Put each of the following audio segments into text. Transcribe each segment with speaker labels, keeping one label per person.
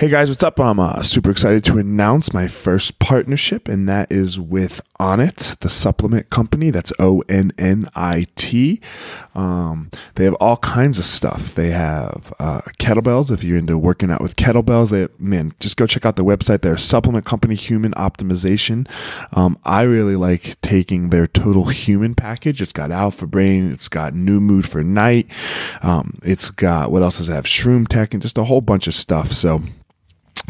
Speaker 1: Hey guys, what's up? I'm uh, super excited to announce my first partnership, and that is with Onnit, the supplement company. That's O N N I T. Um, they have all kinds of stuff. They have uh, kettlebells. If you're into working out with kettlebells, they man, just go check out their website. They're a supplement company, Human Optimization. Um, I really like taking their total human package. It's got Alpha Brain. It's got New Mood for Night. Um, it's got what else does it have? Shroom Tech and just a whole bunch of stuff. So.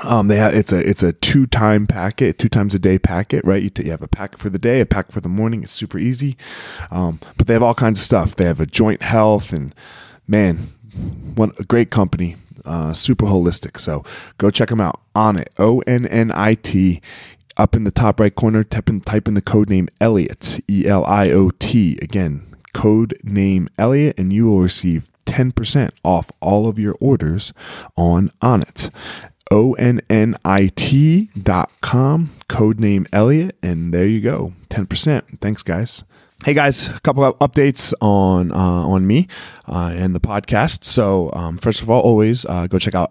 Speaker 1: Um, they have, it's a it's a two time packet, two times a day packet, right? You, t- you have a packet for the day, a packet for the morning. It's super easy, um, but they have all kinds of stuff. They have a joint health and man, one a great company, uh, super holistic. So go check them out on it. O N N I T. Up in the top right corner, type in, type in the code name Elliot E L I O T. Again, code name Elliot, and you will receive 10% off all of your orders on Onnit. O N N I T dot com, codename Elliot, and there you go. 10%. Thanks, guys. Hey guys, a couple of updates on uh, on me uh, and the podcast. So um, first of all, always uh, go check out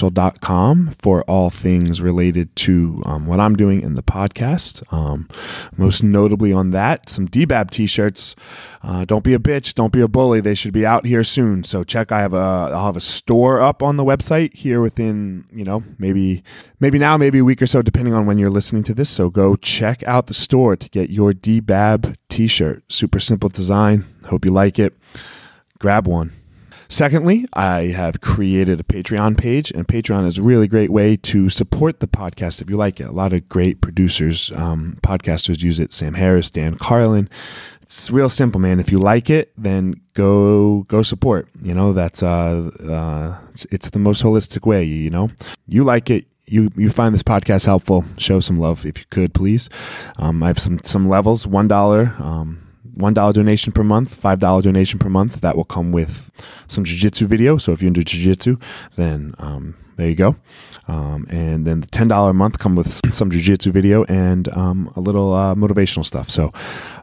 Speaker 1: elliottmarshall.com for all things related to um, what I'm doing in the podcast. Um, most notably on that, some DBAB t-shirts. Uh, don't be a bitch, don't be a bully. They should be out here soon. So check. I have a I'll have a store up on the website here within you know maybe maybe now maybe a week or so depending on when you're listening to this. So go check out the store to get your DBAB t-shirt. Super simple design. Hope you like it. Grab one. Secondly, I have created a Patreon page, and Patreon is a really great way to support the podcast if you like it. A lot of great producers, um, podcasters use it. Sam Harris, Dan Carlin. It's real simple, man. If you like it, then go go support. You know that's uh, uh it's, it's the most holistic way. You know, you like it, you you find this podcast helpful, show some love if you could, please. Um, I have some some levels. One dollar. Um, one dollar donation per month, five dollar donation per month. That will come with some jujitsu video. So if you're into jujitsu, then um, there you go. Um, and then the ten dollar a month come with some jujitsu video and um, a little uh, motivational stuff. So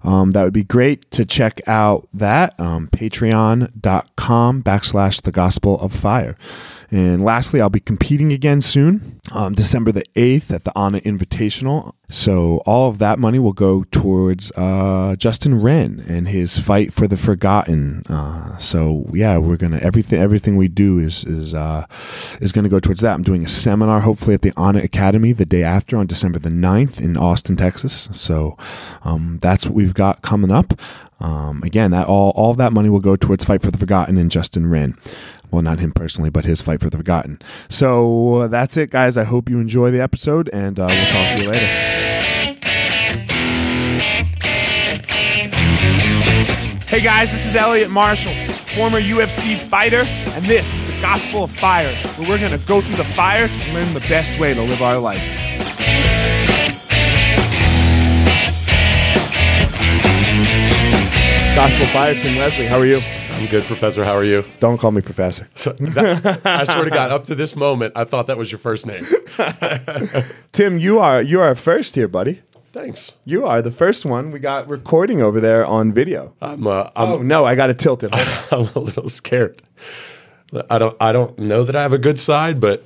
Speaker 1: um, that would be great to check out that um, Patreon.com backslash The Gospel of Fire. And lastly, I'll be competing again soon, um, December the eighth at the Ana Invitational. So all of that money will go towards uh, Justin Wren and his fight for the forgotten. Uh, so yeah, we're gonna everything everything we do is is uh, is gonna go towards that. I'm doing a seminar hopefully at the Honor Academy the day after on December the 9th in Austin, Texas. So um, that's what we've got coming up. Um, again, that all all of that money will go towards Fight for the Forgotten and Justin Wren. Well, not him personally, but his fight for the forgotten. So uh, that's it, guys. I hope you enjoy the episode, and uh, we'll talk to you later.
Speaker 2: Hey guys, this is Elliot Marshall, former UFC fighter, and this is the Gospel of Fire, where we're going to go through the fire to learn the best way to live our life.
Speaker 1: Gospel Fire, Tim Leslie. How are you?
Speaker 3: I'm good, Professor. How are you?
Speaker 1: Don't call me Professor.
Speaker 3: So that- I swear to God, up to this moment, I thought that was your first name.
Speaker 1: Tim, you are you are first here, buddy.
Speaker 3: Thanks.
Speaker 1: You are the first one we got recording over there on video.
Speaker 3: I'm uh, I'm,
Speaker 1: Oh no, I got it tilted.
Speaker 3: I'm a little scared. I don't I don't know that I have a good side, but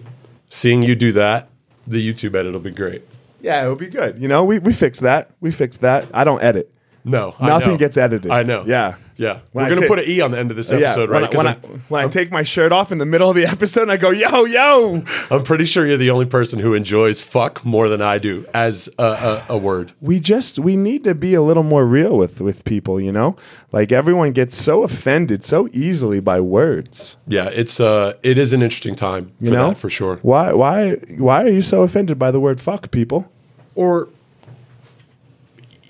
Speaker 3: seeing you do that, the YouTube edit will be great.
Speaker 1: yeah, it'll be good. You know, we we fixed that. We fixed that. I don't edit.
Speaker 3: No, I
Speaker 1: Nothing
Speaker 3: know.
Speaker 1: gets edited.
Speaker 3: I know.
Speaker 1: Yeah.
Speaker 3: yeah.
Speaker 1: When I
Speaker 3: We're gonna
Speaker 1: take-
Speaker 3: put an E on the end of this episode,
Speaker 1: when I-
Speaker 3: right?
Speaker 1: When, I,
Speaker 3: 'Cause
Speaker 1: when, I take my shirt off in the middle of the episode, and I go, "Yo, yo!"
Speaker 3: I'm, I'm pretty sure you're the only person who enjoys "fuck" more than I do as a, a, a word.
Speaker 1: we just we need to be a little more real with with people you know like everyone gets so offended so easily by words
Speaker 3: Yeah, it's uh, it is an interesting time for
Speaker 1: you know
Speaker 3: that for sure.
Speaker 1: why why why are you so offended by the word fuck people
Speaker 3: or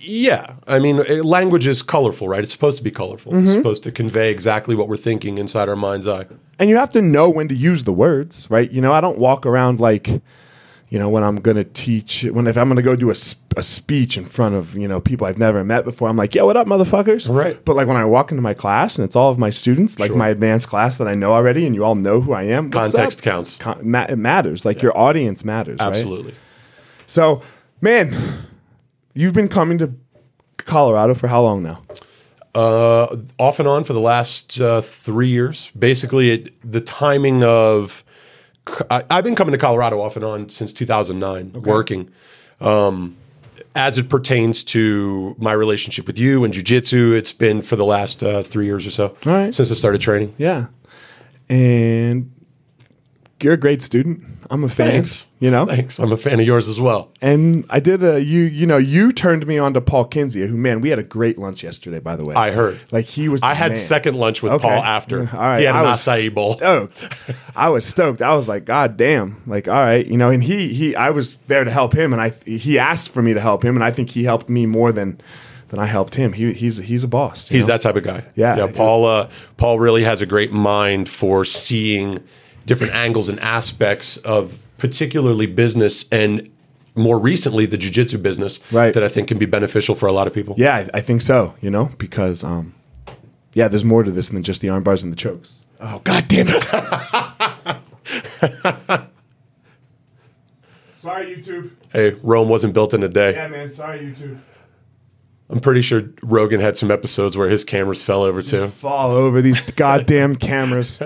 Speaker 3: yeah i mean eh, language is colorful right it's supposed to be colorful
Speaker 1: Mm-hmm.
Speaker 3: it's supposed to convey exactly what we're thinking inside our mind's eye
Speaker 1: and you have to know when to use the words right you know i don't walk around like you know when i'm gonna teach when if i'm gonna go do a, sp- a speech in front of you know people i've never met before i'm like yo what up motherfuckers
Speaker 3: Right.
Speaker 1: but like when i walk into my class and it's all of my students like my advanced class that i know already and you all know who i am what's
Speaker 3: Context
Speaker 1: up?
Speaker 3: counts.
Speaker 1: Con- ma- it matters like your audience matters right?
Speaker 3: absolutely
Speaker 1: So, man, you've been coming to Colorado for how long now?
Speaker 3: uh, off and on for the last uh, three years basically it, the timing of I, I've been coming to Colorado off and on since 2009, working. Um, as it pertains to my relationship with you and jujitsu, it's been for the last uh, three years or so
Speaker 1: All right.
Speaker 3: since I started training.
Speaker 1: Yeah. And you're a great student. I'm a fan.
Speaker 3: Thanks.
Speaker 1: You know?
Speaker 3: Thanks. I'm a fan of yours as well.
Speaker 1: And I did a you you know, you turned me on to Paul Kinzia, who man, we had a great lunch yesterday, by the way.
Speaker 3: I heard.
Speaker 1: Like he was
Speaker 3: I
Speaker 1: the
Speaker 3: had
Speaker 1: man.
Speaker 3: second lunch with
Speaker 1: Okay.
Speaker 3: Paul after.
Speaker 1: All right.
Speaker 3: He had an
Speaker 1: I was
Speaker 3: acai bowl.
Speaker 1: Stoked. I was stoked. I was like, God damn. Like, all right, you know, and he he I was there to help him and I he asked for me to help him and I think he helped me more than than I helped him. He he's he's a boss. you
Speaker 3: He's
Speaker 1: know?
Speaker 3: that type of guy.
Speaker 1: Yeah.
Speaker 3: Yeah. Paul. Uh, Paul really has a great mind for seeing different angles and aspects of particularly business and more recently the jujitsu business
Speaker 1: Right.
Speaker 3: that I think can be beneficial for a lot of people.
Speaker 1: Yeah, I, I think so, you know, because um yeah, there's more to this than just the arm bars and the chokes. Oh god damn it. Sorry, YouTube.
Speaker 3: Hey, Rome wasn't built in a day.
Speaker 1: man. Sorry, YouTube.
Speaker 3: I'm pretty sure Rogan had some episodes where his cameras fell over too.
Speaker 1: Fall over these goddamn cameras.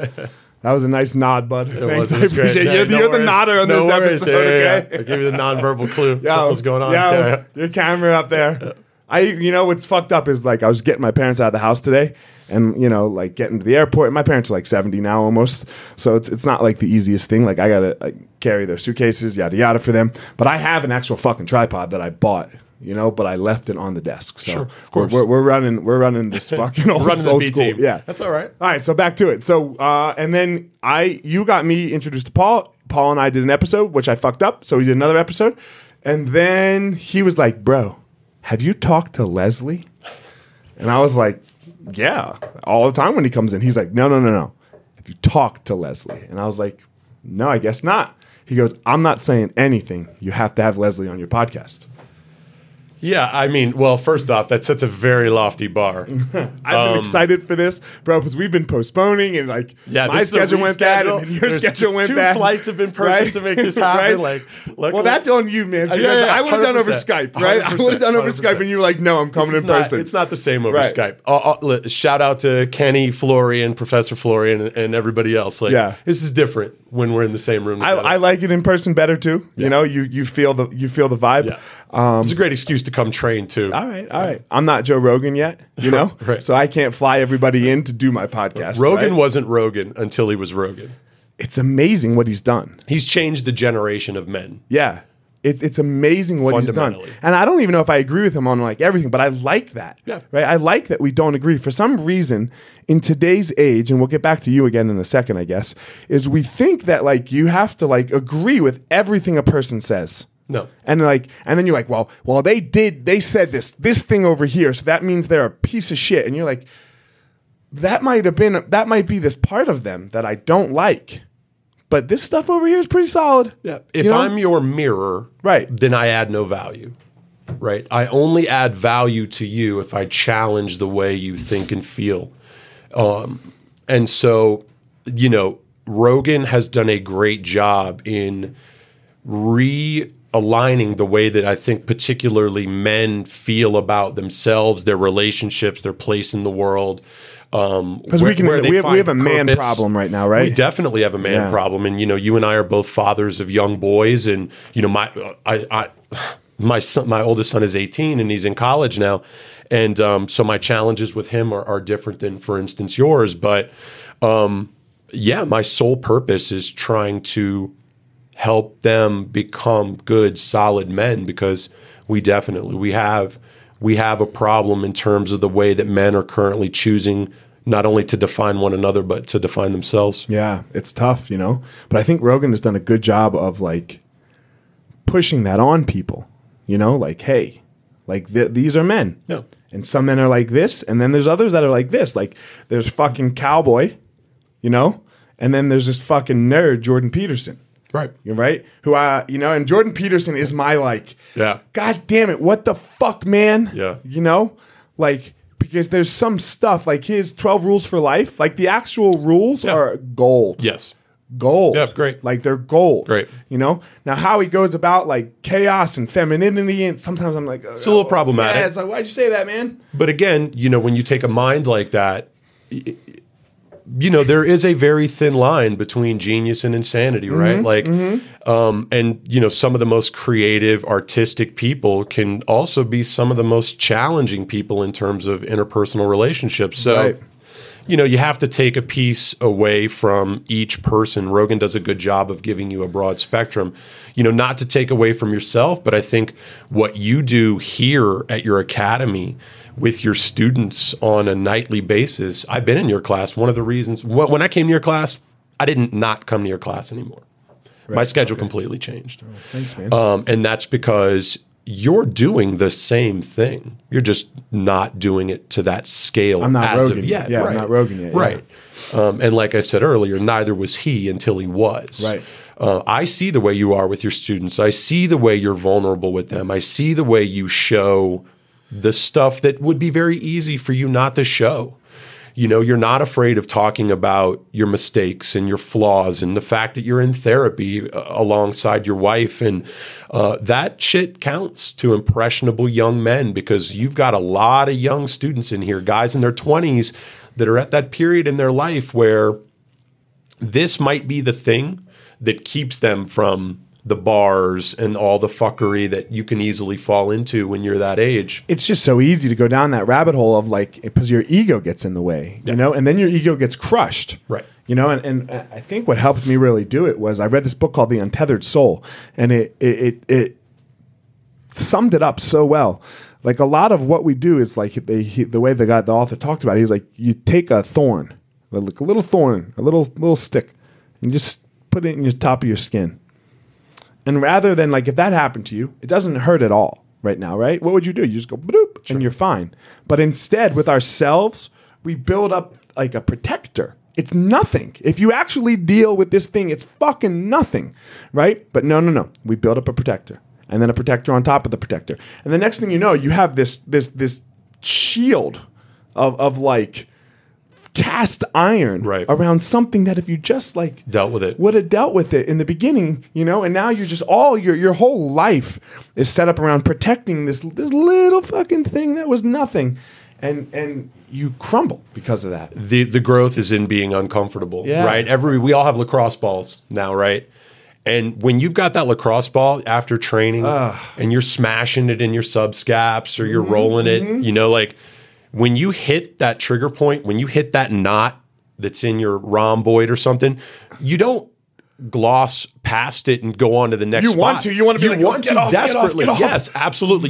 Speaker 1: That was a nice nod, bud. Thanks.
Speaker 3: was- it
Speaker 1: I
Speaker 3: was great.
Speaker 1: appreciate it.
Speaker 3: Yeah,
Speaker 1: You're, the,
Speaker 3: no
Speaker 1: you're the
Speaker 3: worries.
Speaker 1: nodder on
Speaker 3: No
Speaker 1: this
Speaker 3: worries.
Speaker 1: episode,
Speaker 3: Yeah, yeah,
Speaker 1: okay?
Speaker 3: yeah. I gave you the nonverbal clue.
Speaker 1: Yo,
Speaker 3: Something's going on.
Speaker 1: yo,
Speaker 3: Yeah, yeah.
Speaker 1: Your camera up there. I, you know, what's fucked up is like I was getting my parents out of the house today, and you know, like getting to the airport. My parents are like seventy now almost, so it's it's not like the easiest thing. Like I gotta like, carry their suitcases, yada yada, for them. But I have an actual fucking tripod that I bought. You know, but I left it on the desk. So
Speaker 3: Sure, of course.
Speaker 1: We're, we're, we're running, we're running this fucking old,
Speaker 3: running the
Speaker 1: Oh, old
Speaker 3: B
Speaker 1: school.
Speaker 3: team.
Speaker 1: Yeah,
Speaker 3: That's all right.
Speaker 1: all right, so back to it. So, uh, and then I, you got me introduced to Paul. Paul and I did an episode, which I fucked up. So we did another episode, and then he was like, "Bro, have you talked to Leslie?" And I was like, "Yeah, all the time when he comes in." He's like, "No, no, no, no. Have you talked to Leslie?" And I was like, "No, I guess not." He goes, "I'm not saying anything. You have to have Leslie on your podcast."
Speaker 3: Yeah, I mean, well, first off, that sets a very lofty bar.
Speaker 1: I've
Speaker 3: Um,
Speaker 1: been excited for this, bro, because we've been postponing and like
Speaker 3: Yeah,
Speaker 1: my
Speaker 3: this is a
Speaker 1: schedule went bad
Speaker 3: reschedule.
Speaker 1: and then your
Speaker 3: There's
Speaker 1: schedule
Speaker 3: two-
Speaker 1: went
Speaker 3: two
Speaker 1: bad.
Speaker 3: flights have been purchased to make this happen, like,
Speaker 1: well,
Speaker 3: luckily-
Speaker 1: that's on you, man.
Speaker 3: yeah,
Speaker 1: Because
Speaker 3: yeah,
Speaker 1: I would have done over
Speaker 3: 100%,
Speaker 1: Skype, right? I would have done over
Speaker 3: 100%.
Speaker 1: Skype, and you were like, "No, I'm coming
Speaker 3: This is
Speaker 1: in
Speaker 3: not-
Speaker 1: person."
Speaker 3: It's not the same over
Speaker 1: Right.
Speaker 3: Skype. Uh, uh, li- shout out to Kenny, Florian, Professor Florian, and, and everybody else. Like,
Speaker 1: Yeah.
Speaker 3: this is different when we're in the same room.
Speaker 1: I,
Speaker 3: together.
Speaker 1: I like it in person better too. You know, you you feel the you feel the vibe.
Speaker 3: yeah.
Speaker 1: um,
Speaker 3: it's a great excuse to come train too.
Speaker 1: All right, all right. I'm not Joe Rogan yet, you know,
Speaker 3: Right.
Speaker 1: so I can't fly everybody in to do my podcast.
Speaker 3: Rogan
Speaker 1: right?
Speaker 3: wasn't Rogan until he was Rogan.
Speaker 1: it's amazing what he's done.
Speaker 3: He's changed the generation of men.
Speaker 1: Yeah. It, it's amazing what he's done.
Speaker 3: Fundamentally.
Speaker 1: And I don't even know if I agree with him on like everything, but I like that.
Speaker 3: Yeah.
Speaker 1: Right? I like that we don't agree. For some reason, in today's age, and we'll get back to you again in a second, I guess, is we think that like you have to like agree with everything a person says.
Speaker 3: No.
Speaker 1: And like, and then you're like, well, well, they did, they said this, this thing over here, so that means they're a piece of shit. And you're like, that might have been, that might be this part of them that I don't like, but this stuff over here is pretty solid.
Speaker 3: Yeah. If
Speaker 1: You know?
Speaker 3: I'm your mirror,
Speaker 1: Right.
Speaker 3: then I add no value. Right. I only add value to you if I challenge the way you think and feel. Um, And so, you know, Rogan has done a great job in realigning the way that I think particularly men feel about themselves, their relationships, their place in the world. Um,
Speaker 1: 'Cause we can- we have- we
Speaker 3: find
Speaker 1: have a man problem right now, right?
Speaker 3: We definitely have a man
Speaker 1: Yeah.
Speaker 3: problem, and you know, you and I are both fathers of young boys, and you know, my I, I my son, my oldest son is 18 and he's in college now, and um, so my challenges with him are, are different than, for instance, yours. But um, yeah, my sole purpose is trying to help them become good, solid men because we definitely we have we have a problem in terms of the way that men are currently choosing not only to define one another but to define themselves.
Speaker 1: Yeah, it's tough, you know. But I think Rogan has done a good job of like pushing that on people. You know, like hey, like th- these are men.
Speaker 3: Yeah.
Speaker 1: And some men are like this, and then there's others that are like this. Like there's fucking cowboy, you know, and then there's this fucking nerd Jordan Peterson.
Speaker 3: Right.
Speaker 1: You're right. Who I, you know, and Jordan Peterson is my like,
Speaker 3: Yeah.
Speaker 1: God damn it, what the fuck, man?
Speaker 3: Yeah.
Speaker 1: You know, like because there's some stuff like his 12 rules for life, like the actual rules are gold.
Speaker 3: Yes.
Speaker 1: Gold.
Speaker 3: Yeah, great.
Speaker 1: Like they're gold.
Speaker 3: Great.
Speaker 1: You know? Now how he goes about like chaos and femininity and sometimes I'm like "Oh, It's
Speaker 3: a little problematic.
Speaker 1: Yeah, it's like why'd you say that, man?
Speaker 3: But again, you know, when you take a mind like that, you know, there is a very thin line between genius and insanity, right? Like, um, and you know, some of the most creative, artistic people can also be some of the most challenging people in terms of interpersonal relationships. So.
Speaker 1: Right.
Speaker 3: You know, you have to take a piece away from each person. Rogan does a good job of giving you a broad spectrum, you know, not to take away from yourself, but I think what you do here at your academy with your students on a nightly basis. I've been in your class. One of the reasons wh- when I came to your class, I didn't not come to your class anymore. My schedule completely changed.
Speaker 1: Thanks, man.
Speaker 3: Um, and that's because you're doing the same thing. You're just not doing it to that scale. I'm
Speaker 1: not
Speaker 3: as
Speaker 1: Rogan
Speaker 3: of
Speaker 1: yet.
Speaker 3: yet.
Speaker 1: Yeah, I'm
Speaker 3: right.
Speaker 1: not Rogan yet, yeah.
Speaker 3: Right. Um, and like I said earlier, neither was he until he was.
Speaker 1: Right.
Speaker 3: Uh, I see the way you are with your students. I see the way you're vulnerable with them. I see the way you show the stuff that would be very easy for you not to show. You know, you're not afraid of talking about your mistakes and your flaws and the fact that you're in therapy uh, alongside your wife. And uh, that shit counts to impressionable young men because you've got a lot of young students in here, guys in their 20s that are at that period in their life where this might be the thing that keeps them from the bars and all the fuckery that you can easily fall into when you're that age.
Speaker 1: it's just so easy to go down that rabbit hole of like because your ego gets in the way you know and then your ego gets crushed
Speaker 3: Right.
Speaker 1: you know and, and i think what helped me really do it was i read this book called the untethered soul and it it it, it summed it up so well like a lot of what we do is like they, he, the way the guy the author talked about it, he's like you take a thorn like a little thorn a little little stick and just put it in your top of your skin and rather than like if that happened to you, it doesn't hurt at all right now, right? What would you do? You just go bloop and you're fine. But instead, with ourselves, we build up like a protector. It's nothing. If you actually deal with this thing, it's fucking nothing, right? But no, no, no. We build up a protector and then a protector on top of the protector. And the next thing you know, you have this this this shield of of like cast iron
Speaker 3: Right.
Speaker 1: around something that if you just like
Speaker 3: Dealt with it.
Speaker 1: would have dealt with it in the beginning, you know, and now you're just all your your whole life is set up around protecting this this little fucking thing that was nothing, and and you crumble because of that.
Speaker 3: the the growth is in being uncomfortable,
Speaker 1: Yeah.
Speaker 3: right? Every we all have lacrosse balls now, right? And when you've got that lacrosse ball after training and you're smashing it in your subscaps or you're
Speaker 1: Mm-hmm,
Speaker 3: rolling it, you know, like when you hit that trigger point, when you hit that knot that's in your rhomboid or something, you don't gloss past it and go on to the next
Speaker 1: You want
Speaker 3: spot.
Speaker 1: to. You want to be like, oh, get off, get off,
Speaker 3: desperately
Speaker 1: get off.
Speaker 3: yes absolutely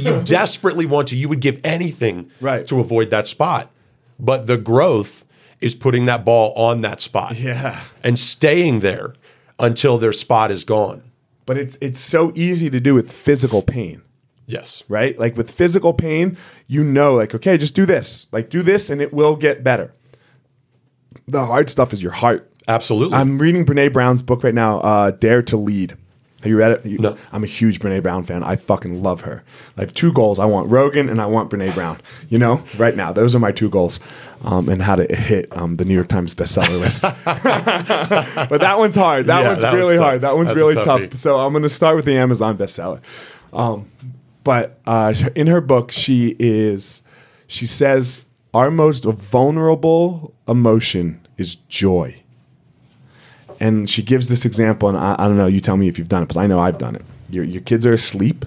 Speaker 3: you desperately want to you would give anything
Speaker 1: Right.
Speaker 3: to avoid that spot but the growth is putting that ball on that spot
Speaker 1: Yeah.
Speaker 3: and staying there until their spot is gone
Speaker 1: But it's it's so easy to do with physical pain,
Speaker 3: yes
Speaker 1: right? Like with physical pain, you know, like okay, just do this, like do this, and it will get better. The hard stuff is your heart.
Speaker 3: absolutely
Speaker 1: I'm reading Brene Brown's book right now, uh, Dare to Lead. Have you read it? You-
Speaker 3: No.
Speaker 1: I'm a huge Brene Brown fan. I fucking love her. I have two goals. I want Rogan and I want Brene Brown. You know, right now, those are my two goals. Um, and how to hit um, the New York Times bestseller list. but that one's hard. That
Speaker 3: Yeah,
Speaker 1: one's
Speaker 3: that one's
Speaker 1: really
Speaker 3: tough.
Speaker 1: hard. That one's
Speaker 3: That's a
Speaker 1: really tough.
Speaker 3: toughie.
Speaker 1: So I'm going to start with the Amazon bestseller. Um, but uh, in her book, she is she says our most vulnerable emotion is joy and she gives this example, and I, I don't know. You tell me if you've done it, because I know I've done it. Your your kids are asleep,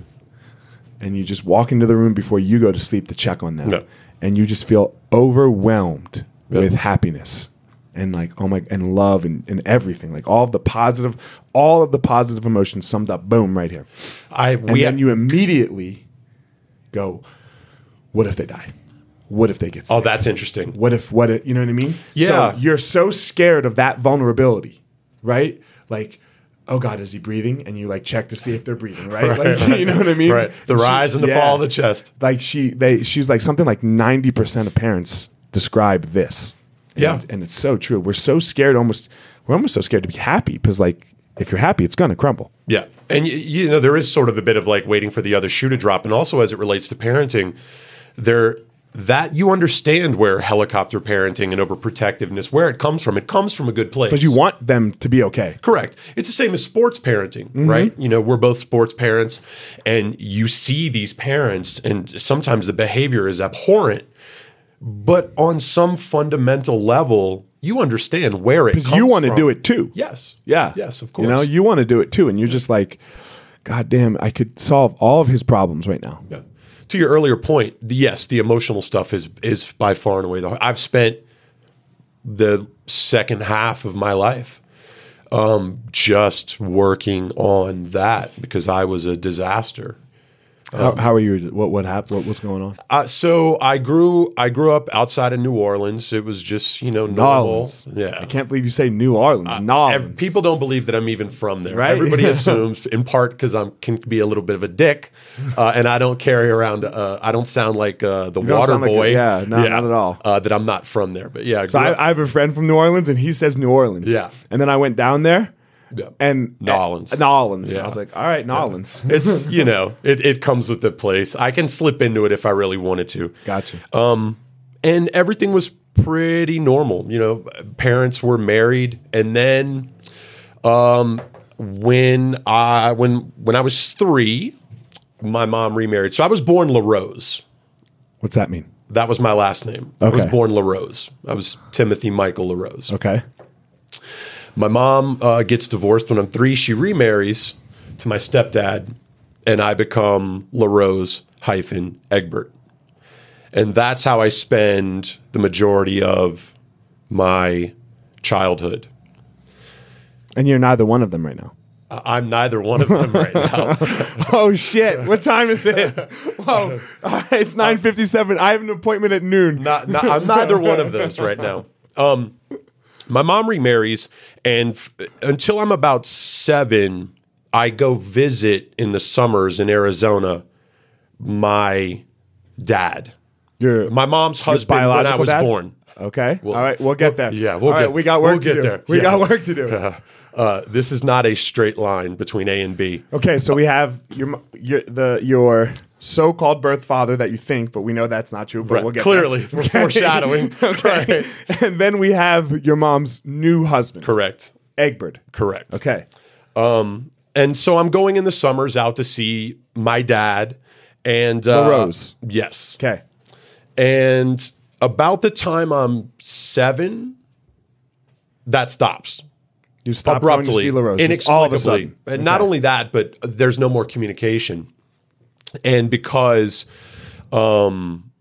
Speaker 1: and you just walk into the room before you go to sleep to check on them,
Speaker 3: Yeah.
Speaker 1: and you just feel overwhelmed with happiness and like oh my and love and, and everything like all of the positive all of the positive emotions summed up boom right here
Speaker 3: i
Speaker 1: and
Speaker 3: we
Speaker 1: then you immediately go what if they die what if they get sick
Speaker 3: oh that's interesting
Speaker 1: what if what if you know what I mean?
Speaker 3: Yeah.
Speaker 1: So you're so scared of that vulnerability, right? Like, oh God, is he breathing? And you like check to see if they're breathing, right? like you know what I mean?
Speaker 3: right the
Speaker 1: And she-
Speaker 3: rise and the
Speaker 1: yeah.
Speaker 3: fall of the chest
Speaker 1: Like she they she's like something like ninety percent of parents describe this. And,
Speaker 3: Yeah.
Speaker 1: And it's so true. We're so scared almost we're almost so scared to be happy because like if you're happy, it's gonna crumble.
Speaker 3: Yeah. And y- you know, there is sort of a bit of like waiting for the other shoe to drop. And also as it relates to parenting, there that you understand where helicopter parenting and overprotectiveness, where it comes from. It comes from a good place.
Speaker 1: Because you want them to be okay.
Speaker 3: Correct. It's the same as sports parenting,
Speaker 1: Mm-hmm.
Speaker 3: right? You know, we're both sports parents, and you see these parents, and sometimes the behavior is abhorrent. But on some fundamental level, you understand where it
Speaker 1: because you want to do
Speaker 3: it.
Speaker 1: it too.
Speaker 3: Yes.
Speaker 1: Yeah.
Speaker 3: Yes, of
Speaker 1: You know,
Speaker 3: course.
Speaker 1: you want to do it too. And you're just like, God damn, I could solve all of his problems right now.
Speaker 3: Yeah. To your earlier point, the- yes, the emotional stuff is is by far and away the. I've spent the second half of my life um, just working on that because I was a disaster.
Speaker 1: how,
Speaker 3: Uh-huh.
Speaker 1: how are you? What what happened? What, what's going on?
Speaker 3: Uh, so I grew I grew up outside of New Orleans. It was just you know normal.
Speaker 1: Nolans.
Speaker 3: Yeah. Uh,
Speaker 1: I can't believe you say New Orleans. Nolans.
Speaker 3: Ev- people don't believe that I'm even from there.
Speaker 1: Right?
Speaker 3: Everybody
Speaker 1: Yeah.
Speaker 3: assumes, in part, because I can be a little bit of a dick, uh, and I don't carry around. Uh, I don't sound like uh, the
Speaker 1: don't
Speaker 3: water
Speaker 1: sound like
Speaker 3: boy.
Speaker 1: it. Yeah, no, not at all.
Speaker 3: Uh, that I'm not from there, but yeah.
Speaker 1: So I, I have a friend from New Orleans, and he says New Orleans.
Speaker 3: Yeah.
Speaker 1: And then I went down there,
Speaker 3: Yeah.
Speaker 1: and
Speaker 3: Nolans.
Speaker 1: Nolans.
Speaker 3: Yeah.
Speaker 1: I was like, all right, Nolans.
Speaker 3: it's you know, it it comes with the place. I can slip into it if I really wanted to.
Speaker 1: Gotcha.
Speaker 3: Uh, and everything was pretty normal. You know, parents were married, and then um, when I when when I was three, my mom remarried. So I was born LaRose.
Speaker 1: What's that mean?
Speaker 3: That was my last name. I was
Speaker 1: Okay.
Speaker 3: born LaRose. I was Timothy Michael LaRose.
Speaker 1: Okay.
Speaker 3: My mom uh, gets divorced when I'm three. She remarries to my stepdad, and I become LaRose hyphen Egbert. And that's how I spend the majority of my childhood.
Speaker 1: And you're neither one of them right now.
Speaker 3: I- I'm neither one of them right now.
Speaker 1: Oh shit! What time is it? Whoa! All right, it's nine fifty-seven. I have an appointment at noon.
Speaker 3: not, not- I'm neither one of those right now. Um, my mom remarries, and f- until I'm about seven, I go visit in the summers in Arizona my dad,
Speaker 1: You're
Speaker 3: my mom's husband when I
Speaker 1: biological
Speaker 3: was
Speaker 1: dad?
Speaker 3: born.
Speaker 1: Okay.
Speaker 3: We'll-
Speaker 1: All right, we'll get there.
Speaker 3: yeah, we'll
Speaker 1: All right,
Speaker 3: get-
Speaker 1: we got work
Speaker 3: we'll
Speaker 1: to
Speaker 3: get
Speaker 1: do.
Speaker 3: there.
Speaker 1: We
Speaker 3: Yeah.
Speaker 1: got work to do.
Speaker 3: Uh, this is not a straight line between A and B.
Speaker 1: Okay, so we have your m- your the your so-called birth father that you think, but we know that's not true. But
Speaker 3: Right,
Speaker 1: we'll get
Speaker 3: Clearly,
Speaker 1: there.
Speaker 3: we're foreshadowing.
Speaker 1: Okay.
Speaker 3: Right.
Speaker 1: And then we have your mom's new husband,
Speaker 3: Correct.
Speaker 1: Egbert.
Speaker 3: Correct.
Speaker 1: Okay.
Speaker 3: and so I'm going in the summers out to see my dad and uh,
Speaker 1: LaRose.
Speaker 3: Yes.
Speaker 1: Okay.
Speaker 3: And about the time I'm seven, that stops
Speaker 1: You stop going to
Speaker 3: abruptly,
Speaker 1: see LaRose. Just
Speaker 3: inexplicably.
Speaker 1: All of a sudden.
Speaker 3: And not only that, but there's no more communication. And because um,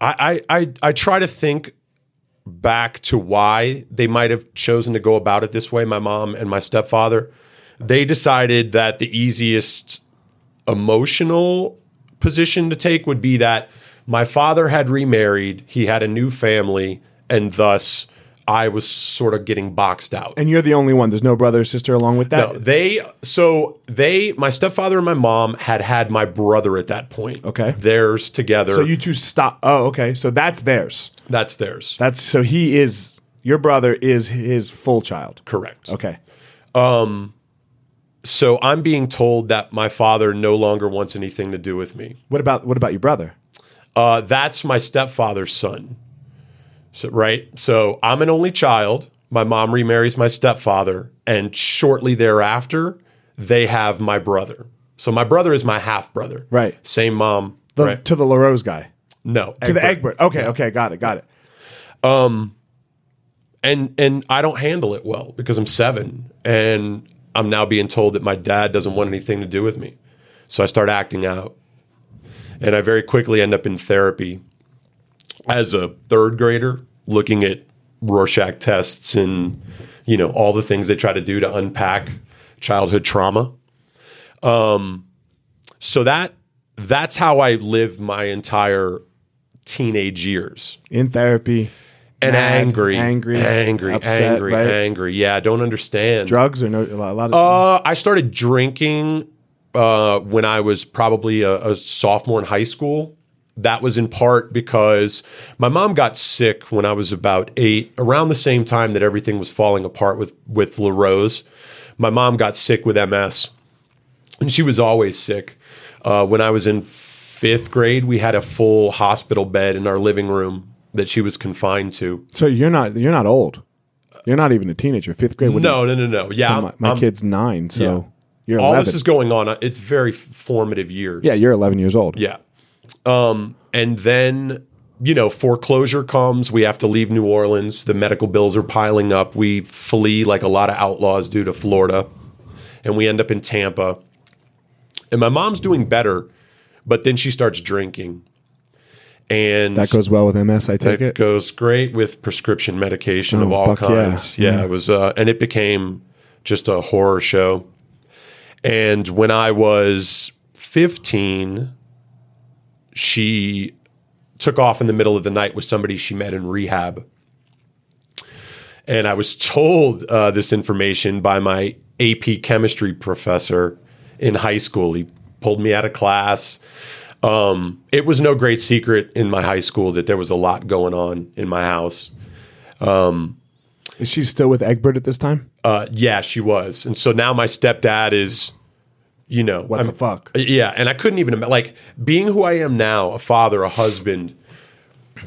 Speaker 3: I, I, I, I try to think back to why they might have chosen to go about it this way, my mom and my stepfather, they decided that the easiest emotional position to take would be that my father had remarried, he had a new family, and thus I was sort of getting boxed out.
Speaker 1: And you're the only one. There's no brother or sister along with that.
Speaker 3: No, they so they my stepfather and my mom had had my brother at that point.
Speaker 1: Okay.
Speaker 3: theirs together.
Speaker 1: So you two stop. Oh, okay. So that's theirs.
Speaker 3: that's theirs.
Speaker 1: That's so he is your brother is his full child.
Speaker 3: Correct.
Speaker 1: Okay.
Speaker 3: So I'm being told that my father no longer wants anything to do with me.
Speaker 1: What about what about your brother?
Speaker 3: Uh, that's my stepfather's son. So right. So I'm an only child. My mom remarries my stepfather, and shortly thereafter, they have my brother. So my brother is my half brother.
Speaker 1: Right.
Speaker 3: Same mom.
Speaker 1: The,
Speaker 3: right.
Speaker 1: To the LaRose guy.
Speaker 3: No.
Speaker 1: To the Egbert. Okay. Okay. Got it. Got it.
Speaker 3: and and I don't handle it well because I'm seven and I'm now being told that my dad doesn't want anything to do with me. So I start acting out. And I very quickly end up in therapy as a third grader looking at Rorschach tests and you know all the things they try to do to unpack childhood trauma. Um so that that's how I live my entire teenage years
Speaker 1: In therapy.
Speaker 3: and
Speaker 1: Mad,
Speaker 3: angry,
Speaker 1: angry,
Speaker 3: angry,
Speaker 1: upset,
Speaker 3: angry,
Speaker 1: right?
Speaker 3: angry. Yeah, I don't understand.
Speaker 1: Drugs or no? A lot, a lot of.
Speaker 3: Uh, I started drinking uh, when I was probably a, a sophomore in high school. That was in part because my mom got sick when I was about eight, around the same time that everything was falling apart with with LaRose. My mom got sick with MS, and she was always sick. Uh, when I was in fifth grade, we had a full hospital bed in our living room that she was confined to.
Speaker 1: so you're not you're not old. You're not even a teenager. Fifth grade. would
Speaker 3: No, no, no, no. Yeah,
Speaker 1: So
Speaker 3: I'm-
Speaker 1: my, my
Speaker 3: I'm-
Speaker 1: kid's nine. So
Speaker 3: Yeah.
Speaker 1: you're
Speaker 3: all
Speaker 1: 11.
Speaker 3: this is going on. uh, It's very formative years.
Speaker 1: yeah. You're 11 years old.
Speaker 3: yeah. Um, and then you know, foreclosure comes. We have to leave New Orleans. The medical bills are piling up. We flee like a lot of outlaws do to Florida, and we end up in Tampa. And my mom's doing better, but then she starts drinking, and
Speaker 1: That goes well with MS, I
Speaker 3: that
Speaker 1: take it.
Speaker 3: goes great with prescription medication of
Speaker 1: Oh,
Speaker 3: all
Speaker 1: fuck yeah.
Speaker 3: kinds. Yeah,
Speaker 1: Yeah.
Speaker 3: it was, uh, and it became just a horror show. And when I was 15, she took off in the middle of the night with somebody she met in rehab. And I was told uh, this information by my AP chemistry professor in high school. He pulled me out of class. Um, it was no great secret in my high school that there was a lot going on in my house.
Speaker 1: Is she still with Egbert at this time?
Speaker 3: Uh, yeah, she was. And so now my stepdad is, you know,
Speaker 1: What the fuck?
Speaker 3: Yeah, and I couldn't even ima- like being who I am now, a father, a husband.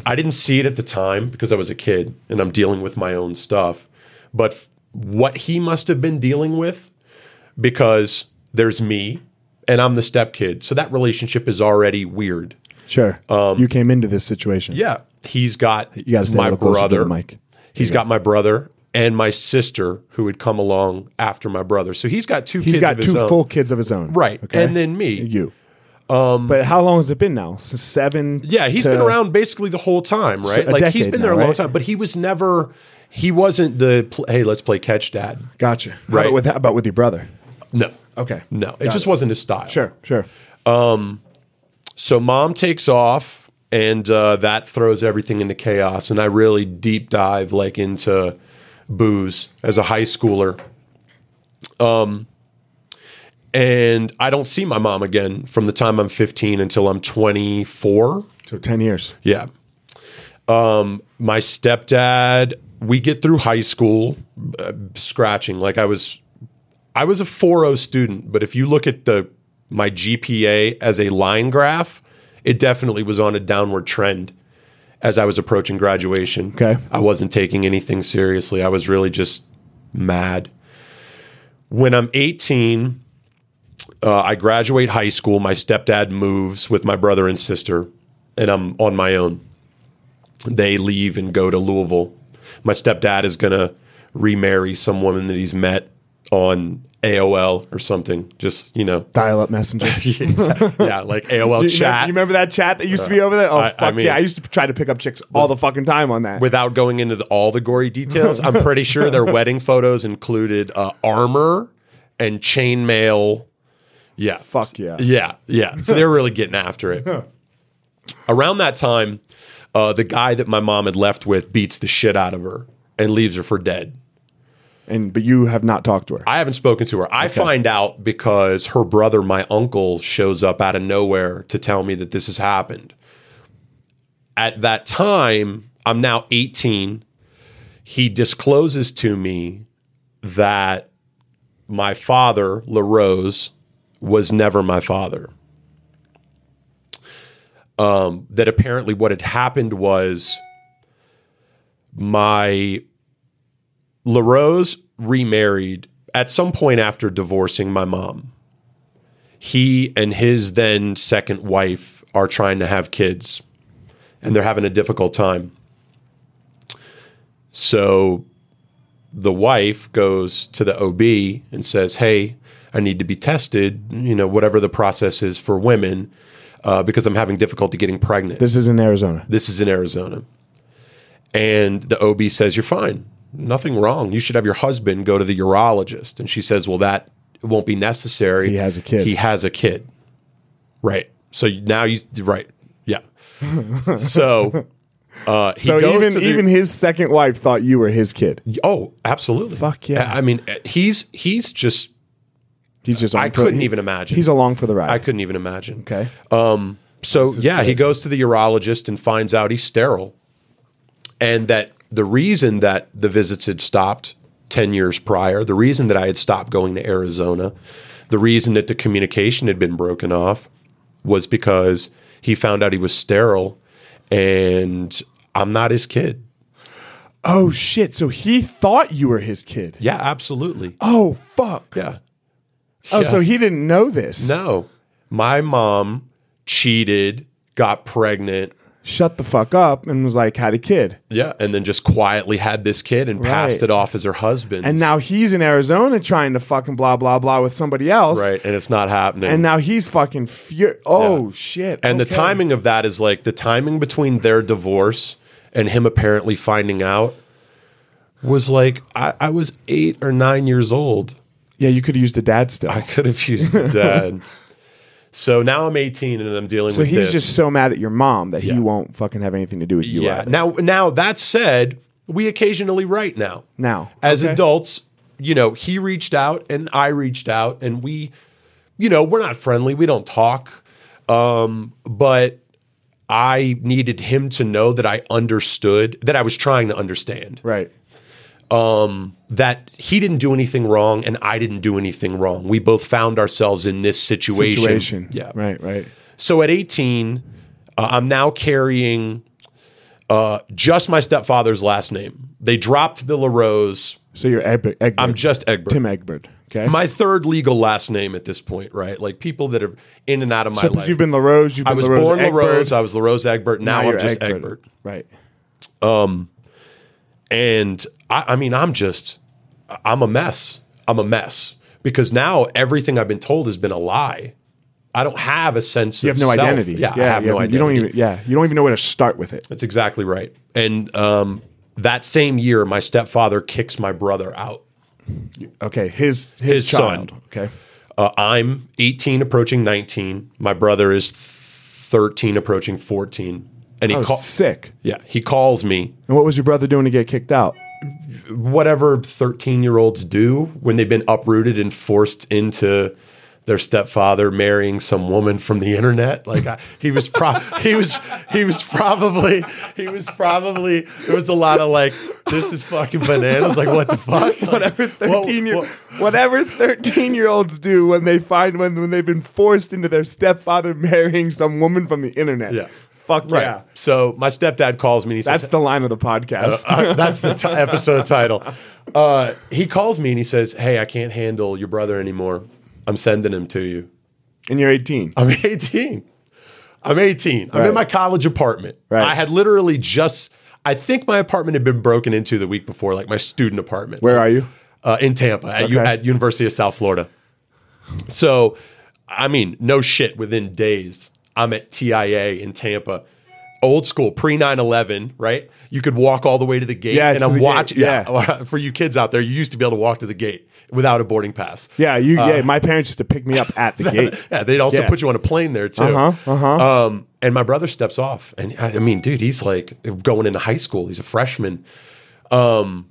Speaker 3: I didn't see it at the time because I was a kid and I'm dealing with my own stuff. But f- what he must have been dealing with because there's me and I'm the stepkid. So that relationship is already weird.
Speaker 1: Sure. you came into this situation.
Speaker 3: Um, Yeah, he's got
Speaker 1: You got to stay a
Speaker 3: my
Speaker 1: little closer to
Speaker 3: brother.
Speaker 1: the mic.
Speaker 3: He's got my brother and my sister who had come along after my brother. So he's got two.
Speaker 1: He's
Speaker 3: kids
Speaker 1: got
Speaker 3: of his
Speaker 1: two
Speaker 3: own.
Speaker 1: full kids of his own.
Speaker 3: Right,
Speaker 1: Okay?
Speaker 3: and then me.
Speaker 1: You. but how long has it been now? S- seven?
Speaker 3: Um, Yeah,
Speaker 1: he's
Speaker 3: he's been around basically the whole time, right?
Speaker 1: a
Speaker 3: like he's
Speaker 1: decade
Speaker 3: been
Speaker 1: now,
Speaker 3: there a long
Speaker 1: right?
Speaker 3: time, but he was never. He wasn't the pl- hey, let's play catch, dad.
Speaker 1: Gotcha. How
Speaker 3: Right.
Speaker 1: about with, how about with your brother?
Speaker 3: No,
Speaker 1: Okay.
Speaker 3: no, it
Speaker 1: Got
Speaker 3: just wasn't his style.
Speaker 1: Sure, sure.
Speaker 3: So mom takes off, and uh, that throws everything into chaos. And I really deep dive like into booze as a high schooler. Um, and I don't see my mom again from the time I'm 15 until I'm 24.
Speaker 1: So 10 years.
Speaker 3: Yeah. Um, my stepdad, we get through high school uh, scratching. Like I was, I was a 4.0 student, but if you look at the my GPA as a line graph, it definitely was on a downward trend as I was approaching graduation.
Speaker 1: Okay.
Speaker 3: I wasn't taking anything seriously. I was really just mad. When I'm 18, uh, I graduate high school. My stepdad moves with my brother and sister, and I'm on my own. They leave and go to Louisville. My stepdad is going to remarry some woman that he's met on AOL or something. Just, you know,
Speaker 1: Dial up messenger.
Speaker 3: yeah, like AOL
Speaker 1: You remember-
Speaker 3: chat. Uh,
Speaker 1: You remember that chat that used to be over there? Oh,
Speaker 3: I- I
Speaker 1: fuck
Speaker 3: mean-
Speaker 1: yeah. I used to try to pick up chicks all the fucking time on that.
Speaker 3: Without going into the, all the gory details, I'm pretty sure their wedding photos included uh, armor and chainmail. Yeah.
Speaker 1: fuck yeah.
Speaker 3: Yeah, yeah. So they're really getting after it. Around that time, uh, the guy that my mom had left with beats the shit out of her and leaves her for dead.
Speaker 1: And But you have not talked to her.
Speaker 3: I haven't spoken to her. I find out because her brother, my uncle, shows up out of nowhere to tell me that this has happened. At that time, I'm now 18. He discloses to me that my father, LaRose, was never my father. Um, that apparently what had happened was my LaRose remarried at some point after divorcing my mom. He and his then second wife are trying to have kids and they're having a difficult time. So the wife goes to the OB and says, Hey, I need to be tested, you know, whatever the process is for women, uh, because I'm having difficulty getting pregnant
Speaker 1: this is in Arizona.
Speaker 3: this is in Arizona. And the OB says, You're fine. Nothing wrong. You should have your husband go to the urologist. And she says, Well, that won't be necessary.
Speaker 1: He has a kid.
Speaker 3: He has a kid. Right. So now you, right. Yeah. so uh, he
Speaker 1: So
Speaker 3: goes
Speaker 1: even,
Speaker 3: to the,
Speaker 1: even his second wife thought you were his kid.
Speaker 3: oh, absolutely.
Speaker 1: Fuck yeah.
Speaker 3: I mean, he's, he's just,
Speaker 1: He's just.
Speaker 3: I
Speaker 1: on for-
Speaker 3: couldn't
Speaker 1: he-
Speaker 3: even imagine.
Speaker 1: He's along for the ride.
Speaker 3: I Uh, couldn't even imagine.
Speaker 1: okay.
Speaker 3: So yeah, he goes to the urologist and finds out he's sterile, and that the reason that the visits had stopped ten years prior, the reason that I had stopped going to Arizona, the reason that the communication had been broken off, was because he found out he was sterile, and I'm not his kid.
Speaker 1: oh shit. So he thought you were his kid.
Speaker 3: Yeah, absolutely.
Speaker 1: Oh fuck.
Speaker 3: Yeah.
Speaker 1: Oh,
Speaker 3: Yeah.
Speaker 1: so he didn't know this.
Speaker 3: No, my mom cheated, got pregnant.
Speaker 1: shut the fuck up and was like had a kid.
Speaker 3: Yeah, and then just quietly had this kid and passed
Speaker 1: Right.
Speaker 3: it off as her husband.
Speaker 1: And now he's in Arizona trying to fucking blah blah blah with somebody else.
Speaker 3: right, and it's not happening.
Speaker 1: And now he's fucking fur. Oh shit!
Speaker 3: And the
Speaker 1: okay.
Speaker 3: timing of that is like the timing between their divorce and him apparently finding out was like I, I was eight or nine years old.
Speaker 1: Yeah, you could use the dad still.
Speaker 3: I could have used the dad. so now I'm 18 and I'm dealing
Speaker 1: so
Speaker 3: with
Speaker 1: he's
Speaker 3: this.
Speaker 1: just so mad at your mom that
Speaker 3: Yeah.
Speaker 1: he won't fucking have anything to do with you.
Speaker 3: yeah.
Speaker 1: either.
Speaker 3: Now, now that said, we occasionally write now.
Speaker 1: Now.
Speaker 3: as
Speaker 1: Okay.
Speaker 3: adults, you know, he reached out and I reached out, and we, you know, we're not friendly. We don't talk, um, but I needed him to know that I understood that I was trying to understand
Speaker 1: Right.
Speaker 3: that he didn't do anything wrong and I didn't do anything wrong. We both found ourselves in this situation.
Speaker 1: Situation.
Speaker 3: Yeah.
Speaker 1: Right. Right.
Speaker 3: So at 18, uh, I'm now carrying uh, just my stepfather's last name. They dropped the LaRose.
Speaker 1: So you're Egbert. Egbert.
Speaker 3: I'm just Egbert.
Speaker 1: Tim Egbert. Okay.
Speaker 3: my third legal last name at this point, right? Like people that are in and out of my
Speaker 1: so
Speaker 3: life.
Speaker 1: you've been LaRose. You've been
Speaker 3: I was
Speaker 1: LaRose
Speaker 3: born
Speaker 1: Egbert,
Speaker 3: LaRose. I was LaRose Egbert. Now,
Speaker 1: you're
Speaker 3: I'm just Egbert.
Speaker 1: Right.
Speaker 3: And I, I mean, I'm just, I'm a mess. I'm a mess because now everything I've been told has been a lie. I don't have a sense
Speaker 1: You
Speaker 3: of
Speaker 1: have no
Speaker 3: self.
Speaker 1: identity.
Speaker 3: Yeah, I have
Speaker 1: you
Speaker 3: no
Speaker 1: have-
Speaker 3: identity.
Speaker 1: You don't even. Yeah. You don't even know where to start with it.
Speaker 3: That's exactly right. And um, that same year, my stepfather kicks my brother out.
Speaker 1: Okay. His his,
Speaker 3: His son.
Speaker 1: child. Okay.
Speaker 3: Uh, I'm 18, approaching 19. My brother is 13, approaching 14. And he
Speaker 1: Oh,
Speaker 3: calls.
Speaker 1: sick.
Speaker 3: Yeah, he calls me.
Speaker 1: And what was your brother doing to get kicked out?
Speaker 3: Whatever 13 year olds do when they've been uprooted and forced into their stepfather marrying some woman from the internet. Like I, he was, pro- he was, he was probably, he was probably. There was a lot of like, this is fucking bananas. Like what the fuck? Like,
Speaker 1: Whatever
Speaker 3: what-
Speaker 1: thirteen year
Speaker 3: what-
Speaker 1: whatever thirteen year olds do when they find when when they've been forced into their stepfather marrying some woman from the internet.
Speaker 3: Yeah.
Speaker 1: Fuck
Speaker 3: Right.
Speaker 1: yeah.
Speaker 3: So my stepdad calls me and he says,
Speaker 1: That's the line of the podcast.
Speaker 3: Uh, that's the t- episode title. Uh, he calls me and he says, "Hey, I can't handle your brother anymore. I'm sending him to you. uh,
Speaker 1: and you're 18.
Speaker 3: I'm 18. I'm 18. I'm in
Speaker 1: Right.
Speaker 3: my college apartment.
Speaker 1: Right.
Speaker 3: I had literally just. I think my apartment had been broken into the week before, like my student apartment.
Speaker 1: Where are you?
Speaker 3: Uh, in Tampa at, U-
Speaker 1: Okay.
Speaker 3: at University of South Florida. So, I mean, no shit. Within days, I'm at TIA in Tampa. Old school, pre 9 11, right? You could walk all the way to the gate,
Speaker 1: Yeah,
Speaker 3: and
Speaker 1: to the
Speaker 3: I'm
Speaker 1: gate,
Speaker 3: watching.
Speaker 1: yeah.
Speaker 3: for you kids out there, you used to be able to walk to the gate without a boarding pass.
Speaker 1: Yeah, you yeah, my parents used to pick me up at the gate.
Speaker 3: Yeah, they'd also
Speaker 1: Yeah.
Speaker 3: put you on a plane there too.
Speaker 1: Uh-huh,
Speaker 3: uh-huh. Um, and my brother steps off, and I, I mean, dude, he's like going into high school. He's a freshman. Um,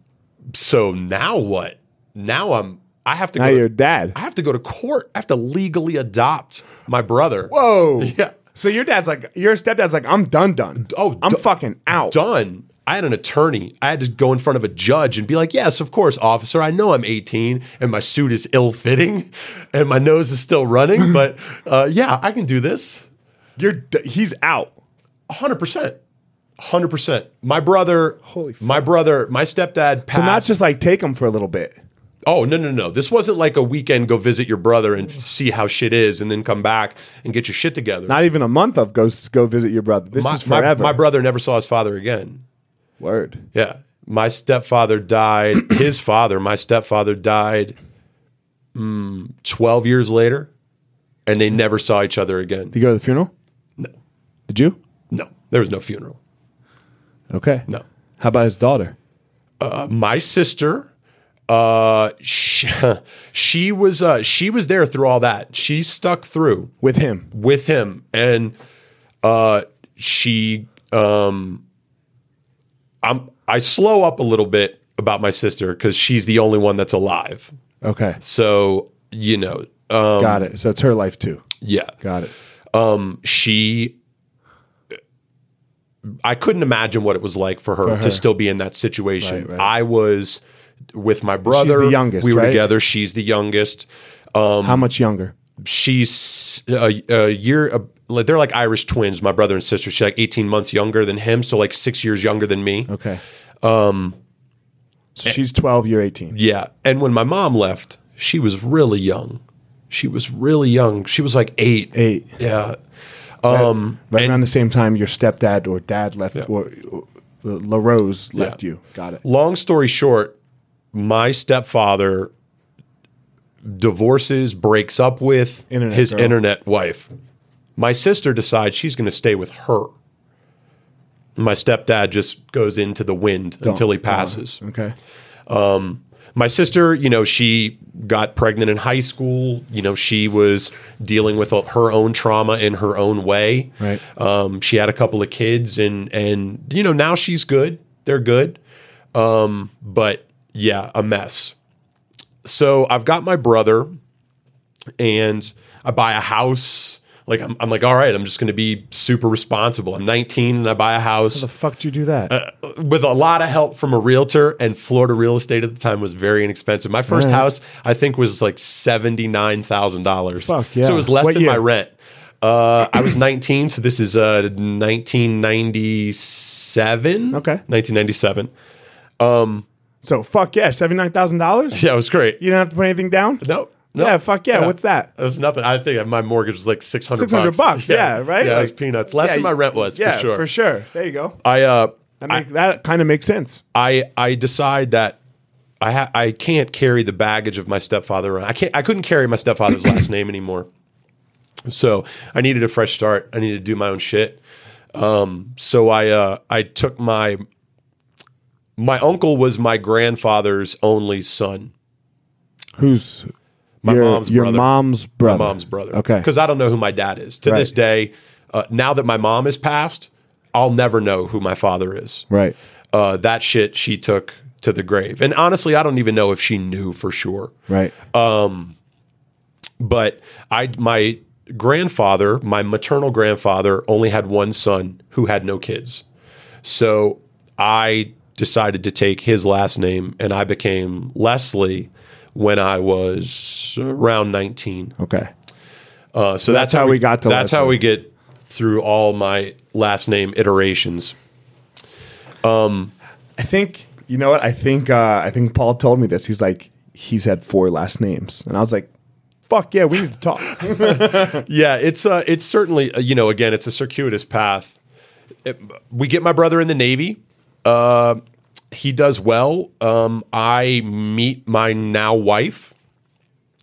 Speaker 3: so now what? Now I'm. I have to.
Speaker 1: Now
Speaker 3: go to-
Speaker 1: you're dad.
Speaker 3: I have to go to court. I have to legally adopt my brother.
Speaker 1: Whoa.
Speaker 3: Yeah.
Speaker 1: So your dad's like your stepdad's like I'm done done.
Speaker 3: Oh,
Speaker 1: I'm
Speaker 3: du-
Speaker 1: fucking out.
Speaker 3: Done. I had an attorney. I had to go in front of a judge and be like, "Yes, of course, officer. I know I'm 18 and my suit is ill-fitting and my nose is still running, but uh, yeah, I can do this."
Speaker 1: You're d- he's out.
Speaker 3: hundred percent, hundred percent. My brother,
Speaker 1: Holy fuck.
Speaker 3: my brother, my stepdad. Passed.
Speaker 1: So not just like take him for a little bit.
Speaker 3: Oh no no no! This wasn't like a weekend. Go visit your brother and see how shit is, and then come back and get your shit together.
Speaker 1: Not even a month of go go visit your brother. This
Speaker 3: my,
Speaker 1: is forever.
Speaker 3: My, my brother never saw his father again.
Speaker 1: Word.
Speaker 3: Yeah, my stepfather died. his father, my stepfather died. mm, Twelve years later, and they never saw each other again.
Speaker 1: Did you go to the funeral?
Speaker 3: No,
Speaker 1: Did you?
Speaker 3: no, there was no funeral.
Speaker 1: Okay.
Speaker 3: No.
Speaker 1: How about his daughter?
Speaker 3: my sister uh she, she was uh she was there through all that she stuck through
Speaker 1: With him.
Speaker 3: with him and uh she um i'm i slow up a little bit about my sister because she's the only one that's alive
Speaker 1: Okay.
Speaker 3: so you know um
Speaker 1: Got it. So it's her life too.
Speaker 3: yeah
Speaker 1: Got it.
Speaker 3: um, she I couldn't imagine what it was like for her, to still be in that situation.
Speaker 1: Right, right.
Speaker 3: I was with my brother.
Speaker 1: the youngest,
Speaker 3: We were
Speaker 1: right?
Speaker 3: together. She's the youngest. um,
Speaker 1: How much younger?
Speaker 3: She's a, a year. A, like they're like Irish twins. My brother and sister. She's like eighteen months younger than him, so like six years younger than me.
Speaker 1: Okay. Um so she's 12, you're 18.
Speaker 3: Yeah. And when my mom left, she was really young. She was really young. She was like eight.
Speaker 1: Eight.
Speaker 3: Yeah. Um,
Speaker 1: Right
Speaker 3: and-
Speaker 1: around the same time your stepdad or dad left, or, or uh, LaRose left
Speaker 3: Yeah.
Speaker 1: you. Got it.
Speaker 3: long story short, my stepfather divorces, breaks up with
Speaker 1: Internet
Speaker 3: his
Speaker 1: girl.
Speaker 3: internet wife. My sister decides she's going to stay with her. My stepdad just goes into the wind until he passes.
Speaker 1: Okay.
Speaker 3: My sister, you know, she got pregnant in high school. You know, she was dealing with her own trauma in her own way.
Speaker 1: Right.
Speaker 3: Um, she had a couple of kids, and and you know now she's good. They're good. Um, but yeah, a mess. So I've got my brother, and I buy a house. Like I'm, I'm like, all right, I'm just going to be super responsible. I'm 19 and I buy a house
Speaker 1: The fuck did you do that?
Speaker 3: Uh, with a lot of help from a realtor and Florida real estate at the time was very inexpensive. My first
Speaker 1: Right.
Speaker 3: house I think was like seventy nine thousand dollars.
Speaker 1: Fuck,
Speaker 3: So
Speaker 1: yeah.
Speaker 3: it was less
Speaker 1: What
Speaker 3: than my
Speaker 1: year?
Speaker 3: rent. Uh, I was nineteen, so this is uh nineteen ninety seven.
Speaker 1: Okay.
Speaker 3: nineteen ninety seven.
Speaker 1: so fuck yeah, seventy nine thousand dollars.
Speaker 3: Yeah, it was great.
Speaker 1: You don't have to put anything down.
Speaker 3: No, no.
Speaker 1: Yeah, fuck yeah. What's that?
Speaker 3: It was nothing. I think my mortgage was like six hundred.
Speaker 1: Six hundred bucks. Yeah, right.
Speaker 3: Yeah, it was
Speaker 1: Like-
Speaker 3: peanuts. Less
Speaker 1: Yeah,
Speaker 3: than my
Speaker 1: you-
Speaker 3: rent was
Speaker 1: yeah,
Speaker 3: for sure.
Speaker 1: For sure. There you go.
Speaker 3: I uh,
Speaker 1: That make, that kind of makes sense.
Speaker 3: I I decide that I ha- I can't carry the baggage of my stepfather around. I can't I couldn't carry my stepfather's last name anymore. So I needed a fresh start. I needed to do my own shit. Um, so I uh, I took my my uncle was my grandfather's only son.
Speaker 1: Who's
Speaker 3: My
Speaker 1: your,
Speaker 3: mom's
Speaker 1: your
Speaker 3: brother.
Speaker 1: mom's brother?
Speaker 3: My mom's brother.
Speaker 1: Okay.
Speaker 3: Because I don't know who my dad is. To
Speaker 1: Right.
Speaker 3: this day, uh, now that my mom is passed, I'll never know who my father is.
Speaker 1: right.
Speaker 3: uh, that shit she took to the grave. And honestly, I don't even know if she knew for sure.
Speaker 1: Right.
Speaker 3: Uh, But I, my grandfather, my maternal grandfather, only had one son who had no kids. So I decided to take his last name, and I became Leslie when I was around nineteen.
Speaker 1: okay.
Speaker 3: Uh, so that's,
Speaker 1: how we got to
Speaker 3: That's how
Speaker 1: Leslie.
Speaker 3: we get through all my last name iterations.
Speaker 1: I think you know what I think. Uh, I think Paul told me this. He's like he's had four last names, and I was like, "Fuck yeah, we need to talk."
Speaker 3: Yeah, it's uh, it's certainly uh, you know again it's a circuitous path. It- we get my brother in the Navy. Uh, he does well. Um, I meet my now wife,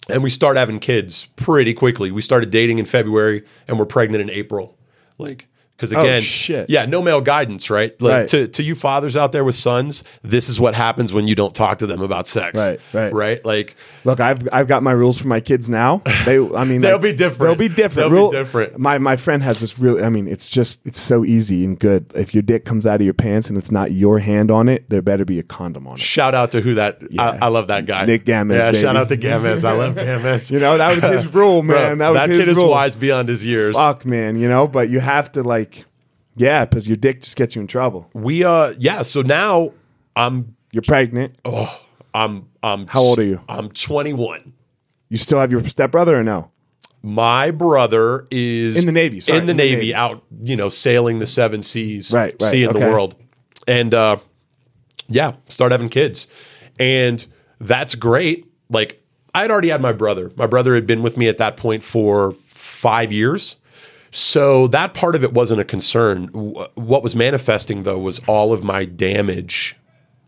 Speaker 3: and we start having kids pretty quickly. We started dating in February, and we're pregnant in April. Like because again,
Speaker 1: Oh, shit.
Speaker 3: yeah, no male guidance, right? Like
Speaker 1: Right.
Speaker 3: to to you fathers out there with sons, this is what happens when you don't talk to them about sex,
Speaker 1: Right, right.
Speaker 3: right? Like
Speaker 1: Look, I've I've got my rules for my kids now. They, I mean,
Speaker 3: They'll be different.
Speaker 1: They'll be different.
Speaker 3: They'll be different.
Speaker 1: My my friend has this real. I mean, it's just it's so easy and good. If your dick comes out of your pants and it's not your hand on it, there better be a condom on it.
Speaker 3: Shout out to who that I, I love that guy.
Speaker 1: Nick Gamez,
Speaker 3: Yeah,
Speaker 1: baby.
Speaker 3: shout out to Gamez. I love Gamez.
Speaker 1: You know, that was his rule,
Speaker 3: Bro,
Speaker 1: man. that was his
Speaker 3: kid
Speaker 1: rule.
Speaker 3: is wise beyond his years.
Speaker 1: Fuck, man. You know, but you have to like, yeah, because your dick just gets you in trouble.
Speaker 3: We uh yeah, so now I'm
Speaker 1: You're pregnant.
Speaker 3: I'm I'm
Speaker 1: How old are you?
Speaker 3: I'm 21.
Speaker 1: You still have your stepbrother or no?
Speaker 3: My brother is
Speaker 1: In the Navy, sorry,
Speaker 3: in the Navy, out, you know, sailing the seven seas,
Speaker 1: Right, right,
Speaker 3: seeing the
Speaker 1: okay.
Speaker 3: world. And uh yeah, start having kids. And that's great. Like I had already had my brother. My brother had been with me at that point for 5 years. So that part of it wasn't a concern. Wh- What was manifesting though was all of my damage,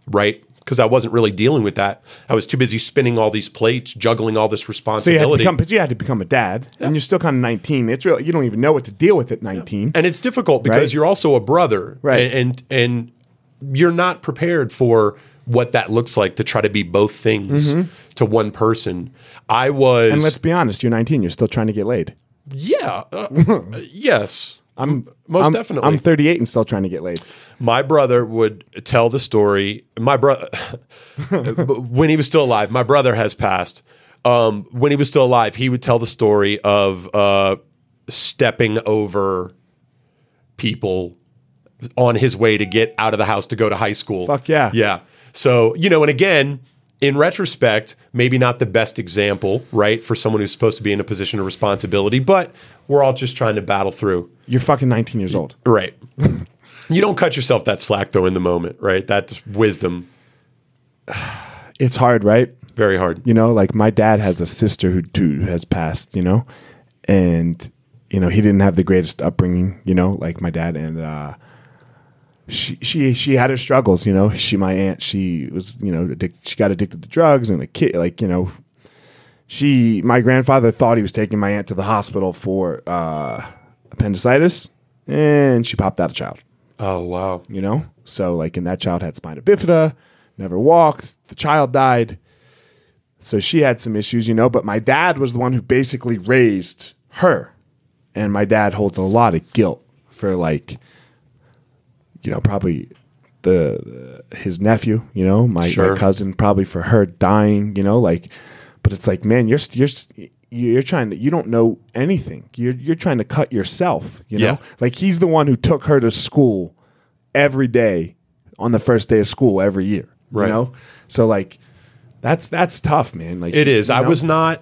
Speaker 3: right? Because I wasn't really dealing with that. I was too busy spinning all these plates, juggling all this
Speaker 1: So you
Speaker 3: responsibility.
Speaker 1: had to become, but you had to become a dad, and you're still kind of 19. It's real. You don't even know what to deal with at 19.
Speaker 3: and it's difficult because
Speaker 1: Right.
Speaker 3: you're also a brother
Speaker 1: Right.
Speaker 3: and and you're not prepared for what that looks like to try to be both things to one person i was
Speaker 1: Mm-hmm. And let's be honest, you're 19. You're still trying to get laid.
Speaker 3: yeah uh, yes i'm most
Speaker 1: I'm,
Speaker 3: definitely
Speaker 1: I'm 38 and still trying to get laid.
Speaker 3: my brother would tell the story. My brother, when he was still alive, my brother has passed. Um, when he was still alive, he would tell the story of uh, stepping over people on his way to get out of the house to go to high school.
Speaker 1: Fuck yeah.
Speaker 3: Yeah. So, you know, and again, in retrospect, maybe not the best example, right, for someone who's supposed to be in a position of responsibility, but we're all just trying to battle through.
Speaker 1: You're fucking 19 years old.
Speaker 3: Right. you don't cut yourself that slack though in the moment, right? That's wisdom.
Speaker 1: It's hard, right?
Speaker 3: Very hard.
Speaker 1: You know, like my dad has a sister who, who has passed, you know, and you know, he didn't have the greatest upbringing, you know, like my dad and uh she she she had her struggles, you know. She my aunt, she was, you know, addic- she got addicted to drugs and a kid like, you know, she my grandfather thought he was taking my aunt to the hospital for uh appendicitis and she popped out a child
Speaker 3: Oh wow.
Speaker 1: you know so like and that child had spina bifida never walked the child died so she had some issues you know but my dad was the one who basically raised her and my dad holds a lot of guilt for like you know probably the his nephew you know my,
Speaker 3: Sure.
Speaker 1: my cousin probably for her dying you know like but it's like man you're you're you're trying to you don't know anything you're you're trying to cut yourself you know
Speaker 3: Yeah.
Speaker 1: like he's the one who took her to school every day on the first day of school every year.
Speaker 3: Right.
Speaker 1: You know? So like that's that's tough, man. Like
Speaker 3: It is.
Speaker 1: you
Speaker 3: I
Speaker 1: know?
Speaker 3: was not.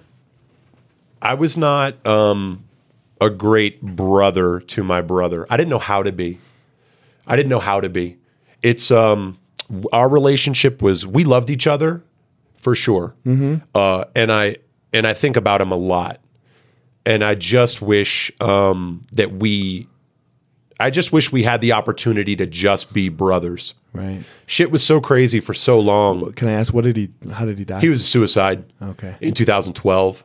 Speaker 3: I was not um, a great brother to my brother. I didn't know how to be. I didn't know how to be. It's um, w- our relationship was we loved each other for sure,
Speaker 1: Mm-hmm.
Speaker 3: uh, and I and I think about him a lot, and I just wish um, that we. I just wish we had the opportunity to just be brothers.
Speaker 1: right.
Speaker 3: Shit was so crazy for so long.
Speaker 1: Can I ask what did he how did he die?
Speaker 3: He was a suicide.
Speaker 1: Okay.
Speaker 3: In 2012.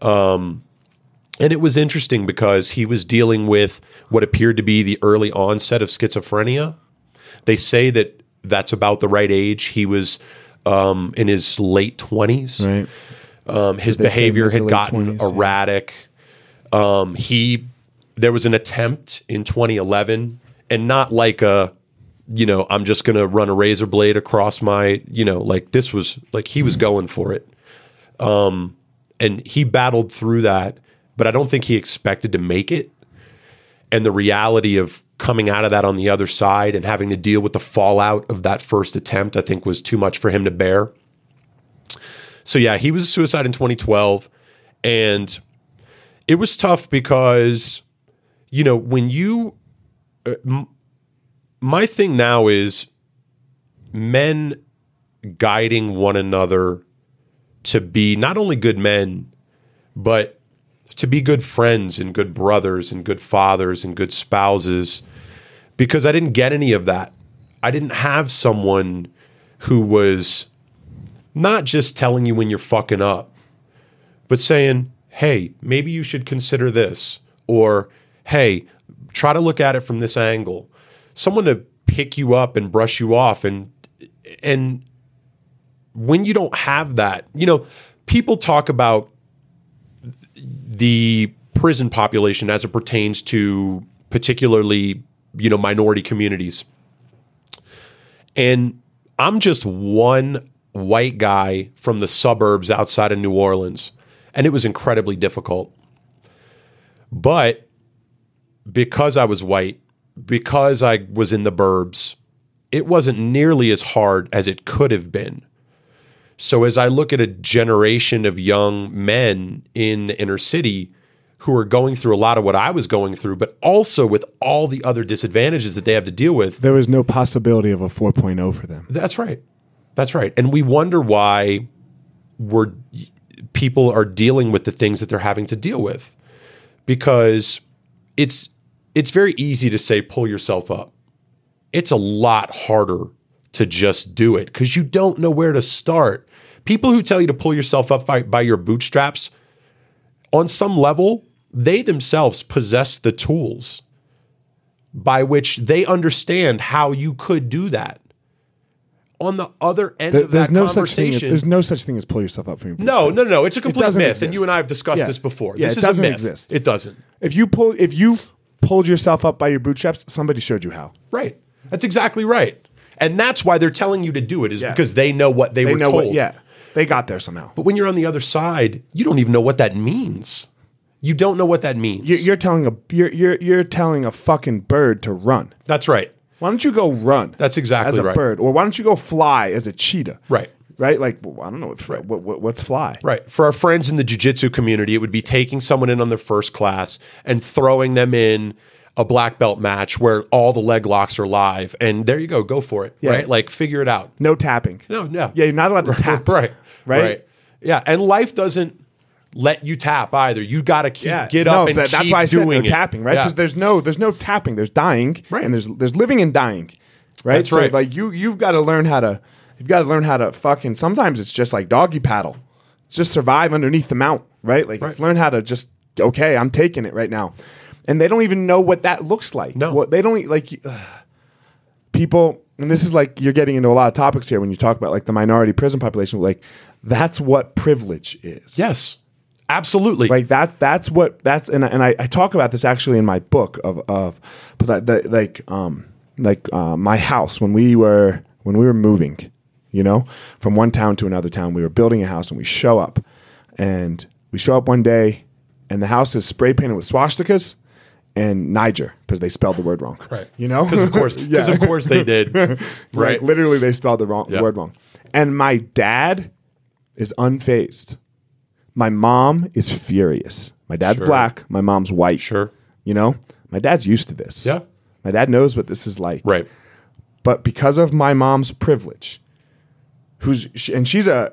Speaker 3: Um, and it was interesting because he was dealing with what appeared to be the early onset of schizophrenia. They say that that's about the right age. He was um, in his late 20s.
Speaker 1: right.
Speaker 3: Um, his
Speaker 1: they say
Speaker 3: behavior
Speaker 1: mid to
Speaker 3: had
Speaker 1: late
Speaker 3: gotten
Speaker 1: 20s, yeah.
Speaker 3: erratic. Um, he there was an attempt in 2011, and not like a you know I'm just gonna run a razor blade across my you know like this was like he was going for it, um, and he battled through that, but I don't think he expected to make it and the reality of coming out of that on the other side and having to deal with the fallout of that first attempt, I think was too much for him to bear. So yeah, he was a suicide in 2012 and it was tough because you know, when you uh, m- my thing now is men guiding one another to be not only good men but to be good friends and good brothers and good fathers and good spouses because I didn't get any of that. I didn't have someone who was not just telling you when you're fucking up, but saying, hey, maybe you should consider this, or hey, try to look at it from this angle. Someone to pick you up and brush you off and and when you don't have that, you know, people talk about the prison population as it pertains to particularly you know minority communities and i'm just one white guy from the suburbs outside of new orleans and it was incredibly difficult but because i was white because i was in the burbs it wasn't nearly as hard as it could have been so as I look at a generation of young men in the inner city who are going through a lot of what I was going through, but also with all the other disadvantages that they have to deal with,
Speaker 1: There was no possibility of a 4.0 for them.
Speaker 3: that's right. That's right. And we wonder why we're people are dealing with the things that they're having to deal with. Because it's it's very easy to say pull yourself up. It's a lot harder to just do it cuz you don't know where to start. People who tell you to pull yourself up by, by your bootstraps on some level they themselves possess the tools by which they understand how you could do that. On the other end
Speaker 1: There-
Speaker 3: of
Speaker 1: there's
Speaker 3: that
Speaker 1: no such thing. As,
Speaker 3: conversation,
Speaker 1: there's no such thing as pull yourself up from your
Speaker 3: no,
Speaker 1: bootstraps.
Speaker 3: no, no. It's a complete myth,
Speaker 1: doesn't
Speaker 3: and you
Speaker 1: exist.
Speaker 3: and I have discussed
Speaker 1: Yeah.
Speaker 3: this before.
Speaker 1: Yeah,
Speaker 3: this
Speaker 1: it
Speaker 3: is
Speaker 1: doesn't
Speaker 3: a myth.
Speaker 1: exist.
Speaker 3: It doesn't.
Speaker 1: If you pull if you pulled yourself up by your bootstraps, somebody showed you how.
Speaker 3: Right. That's exactly right. And that's why they're telling you to do it is
Speaker 1: Yeah.
Speaker 3: because they know what they,
Speaker 1: They
Speaker 3: were
Speaker 1: know
Speaker 3: told.
Speaker 1: what yeah. They got there somehow.
Speaker 3: But when you're on the other side, you don't even know what that means. You don't know what that means.
Speaker 1: You're, you're telling a you're, you're you're telling a fucking bird to run.
Speaker 3: that's right.
Speaker 1: Why don't you go run?
Speaker 3: That's exactly
Speaker 1: as a
Speaker 3: right.
Speaker 1: bird, or why don't you go fly as a cheetah?
Speaker 3: Right.
Speaker 1: right. Like well, I don't know if, what, what what's fly.
Speaker 3: Right. For our friends in the jujitsu community, it would be taking someone in on their first class and throwing them in a black belt match where all the leg locks are live. And there you go. Go for it. Right. Like figure it out.
Speaker 1: No tapping.
Speaker 3: No, no.
Speaker 1: Yeah, you're not allowed to tap.
Speaker 3: right,
Speaker 1: Right?
Speaker 3: Yeah, and life doesn't let you tap either. You got to keep
Speaker 1: Yeah,
Speaker 3: get
Speaker 1: no,
Speaker 3: up and
Speaker 1: that- that's
Speaker 3: keep
Speaker 1: why I said
Speaker 3: doing
Speaker 1: no
Speaker 3: it.
Speaker 1: tapping, right?
Speaker 3: Yeah.
Speaker 1: Because there's no there's no tapping. There's dying,
Speaker 3: Right.
Speaker 1: And there's there's living and dying, right?
Speaker 3: That's
Speaker 1: so
Speaker 3: right.
Speaker 1: like you you've got to learn how to you've got to learn how to fucking. Sometimes it's just like doggy paddle. It's just survive underneath the mount, right? Like it's
Speaker 3: Right.
Speaker 1: learn how to just okay, I'm taking it right now, and they don't even know what that looks like.
Speaker 3: No.
Speaker 1: what, they don't e, like ugh. people. And this is like you're getting into a lot of topics here when you talk about like the minority prison population. Like that's what privilege is.
Speaker 3: yes, absolutely.
Speaker 1: Like that. That's what. That's and I- and I, I talk about this actually in my book of of, but that, that like um like uh, my house when we were when we were moving, you know, from one town to another town, we were building a house and we show up, and we show up one day, and the house is spray painted with swastikas. And Niger, because they spelled the word wrong.
Speaker 3: Right.
Speaker 1: You know?
Speaker 3: because of course,
Speaker 1: Yeah.
Speaker 3: because of course they did.
Speaker 1: Like,
Speaker 3: Right.
Speaker 1: literally, they spelled the wrong
Speaker 3: Yeah.
Speaker 1: word wrong. And my dad is unfazed. My mom is furious. My dad's
Speaker 3: Sure.
Speaker 1: black. My mom's white.
Speaker 3: Sure.
Speaker 1: You know, my dad's used to this.
Speaker 3: Yeah.
Speaker 1: My dad knows what this is like.
Speaker 3: Right.
Speaker 1: But because of my mom's privilege, who's sh- and she's a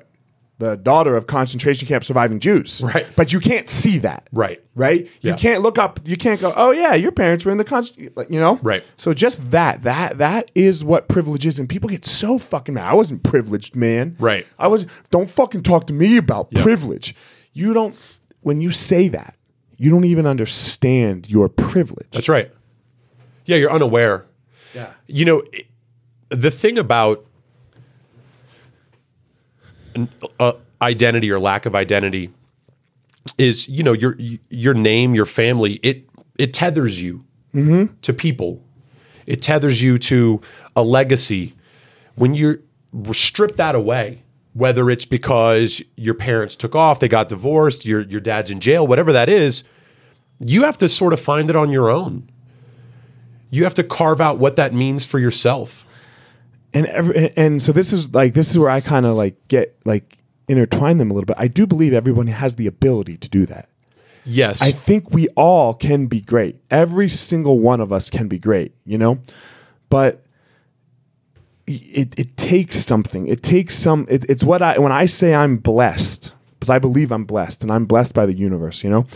Speaker 1: the daughter of concentration camp surviving Jews.
Speaker 3: Right.
Speaker 1: But you can't see that.
Speaker 3: Right.
Speaker 1: Right. You
Speaker 3: Yeah.
Speaker 1: can't look up. You can't go. Oh yeah, your parents were in the concentration. Like, you know.
Speaker 3: Right.
Speaker 1: So just that that that is what privilege is, and people get so fucking mad. I wasn't privileged, man.
Speaker 3: Right.
Speaker 1: I was. Don't fucking talk to me about privilege. You don't. When you say that, you don't even understand your privilege.
Speaker 3: That's right. Yeah, you're unaware.
Speaker 1: Yeah.
Speaker 3: You know, it- the thing about n- uh, identity or lack of identity is, you know, your your name, your family, it it tethers you to people. It tethers you to a legacy. When you strip that away, whether it's because your parents took off, they got divorced, your your dad's in jail, whatever that is, you have to sort of find it on your own. You have to carve out what that means for yourself.
Speaker 1: and every, and so this is like this is where I kind of like get like intertwine them a little bit. I do believe everyone has the ability to do that.
Speaker 3: Yes.
Speaker 1: I think we all can be great. Every single one of us can be great, you know? But it, it takes something. It takes some, it, it's what I, when I say I'm blessed, because I believe I'm blessed and I'm blessed by the universe, you know?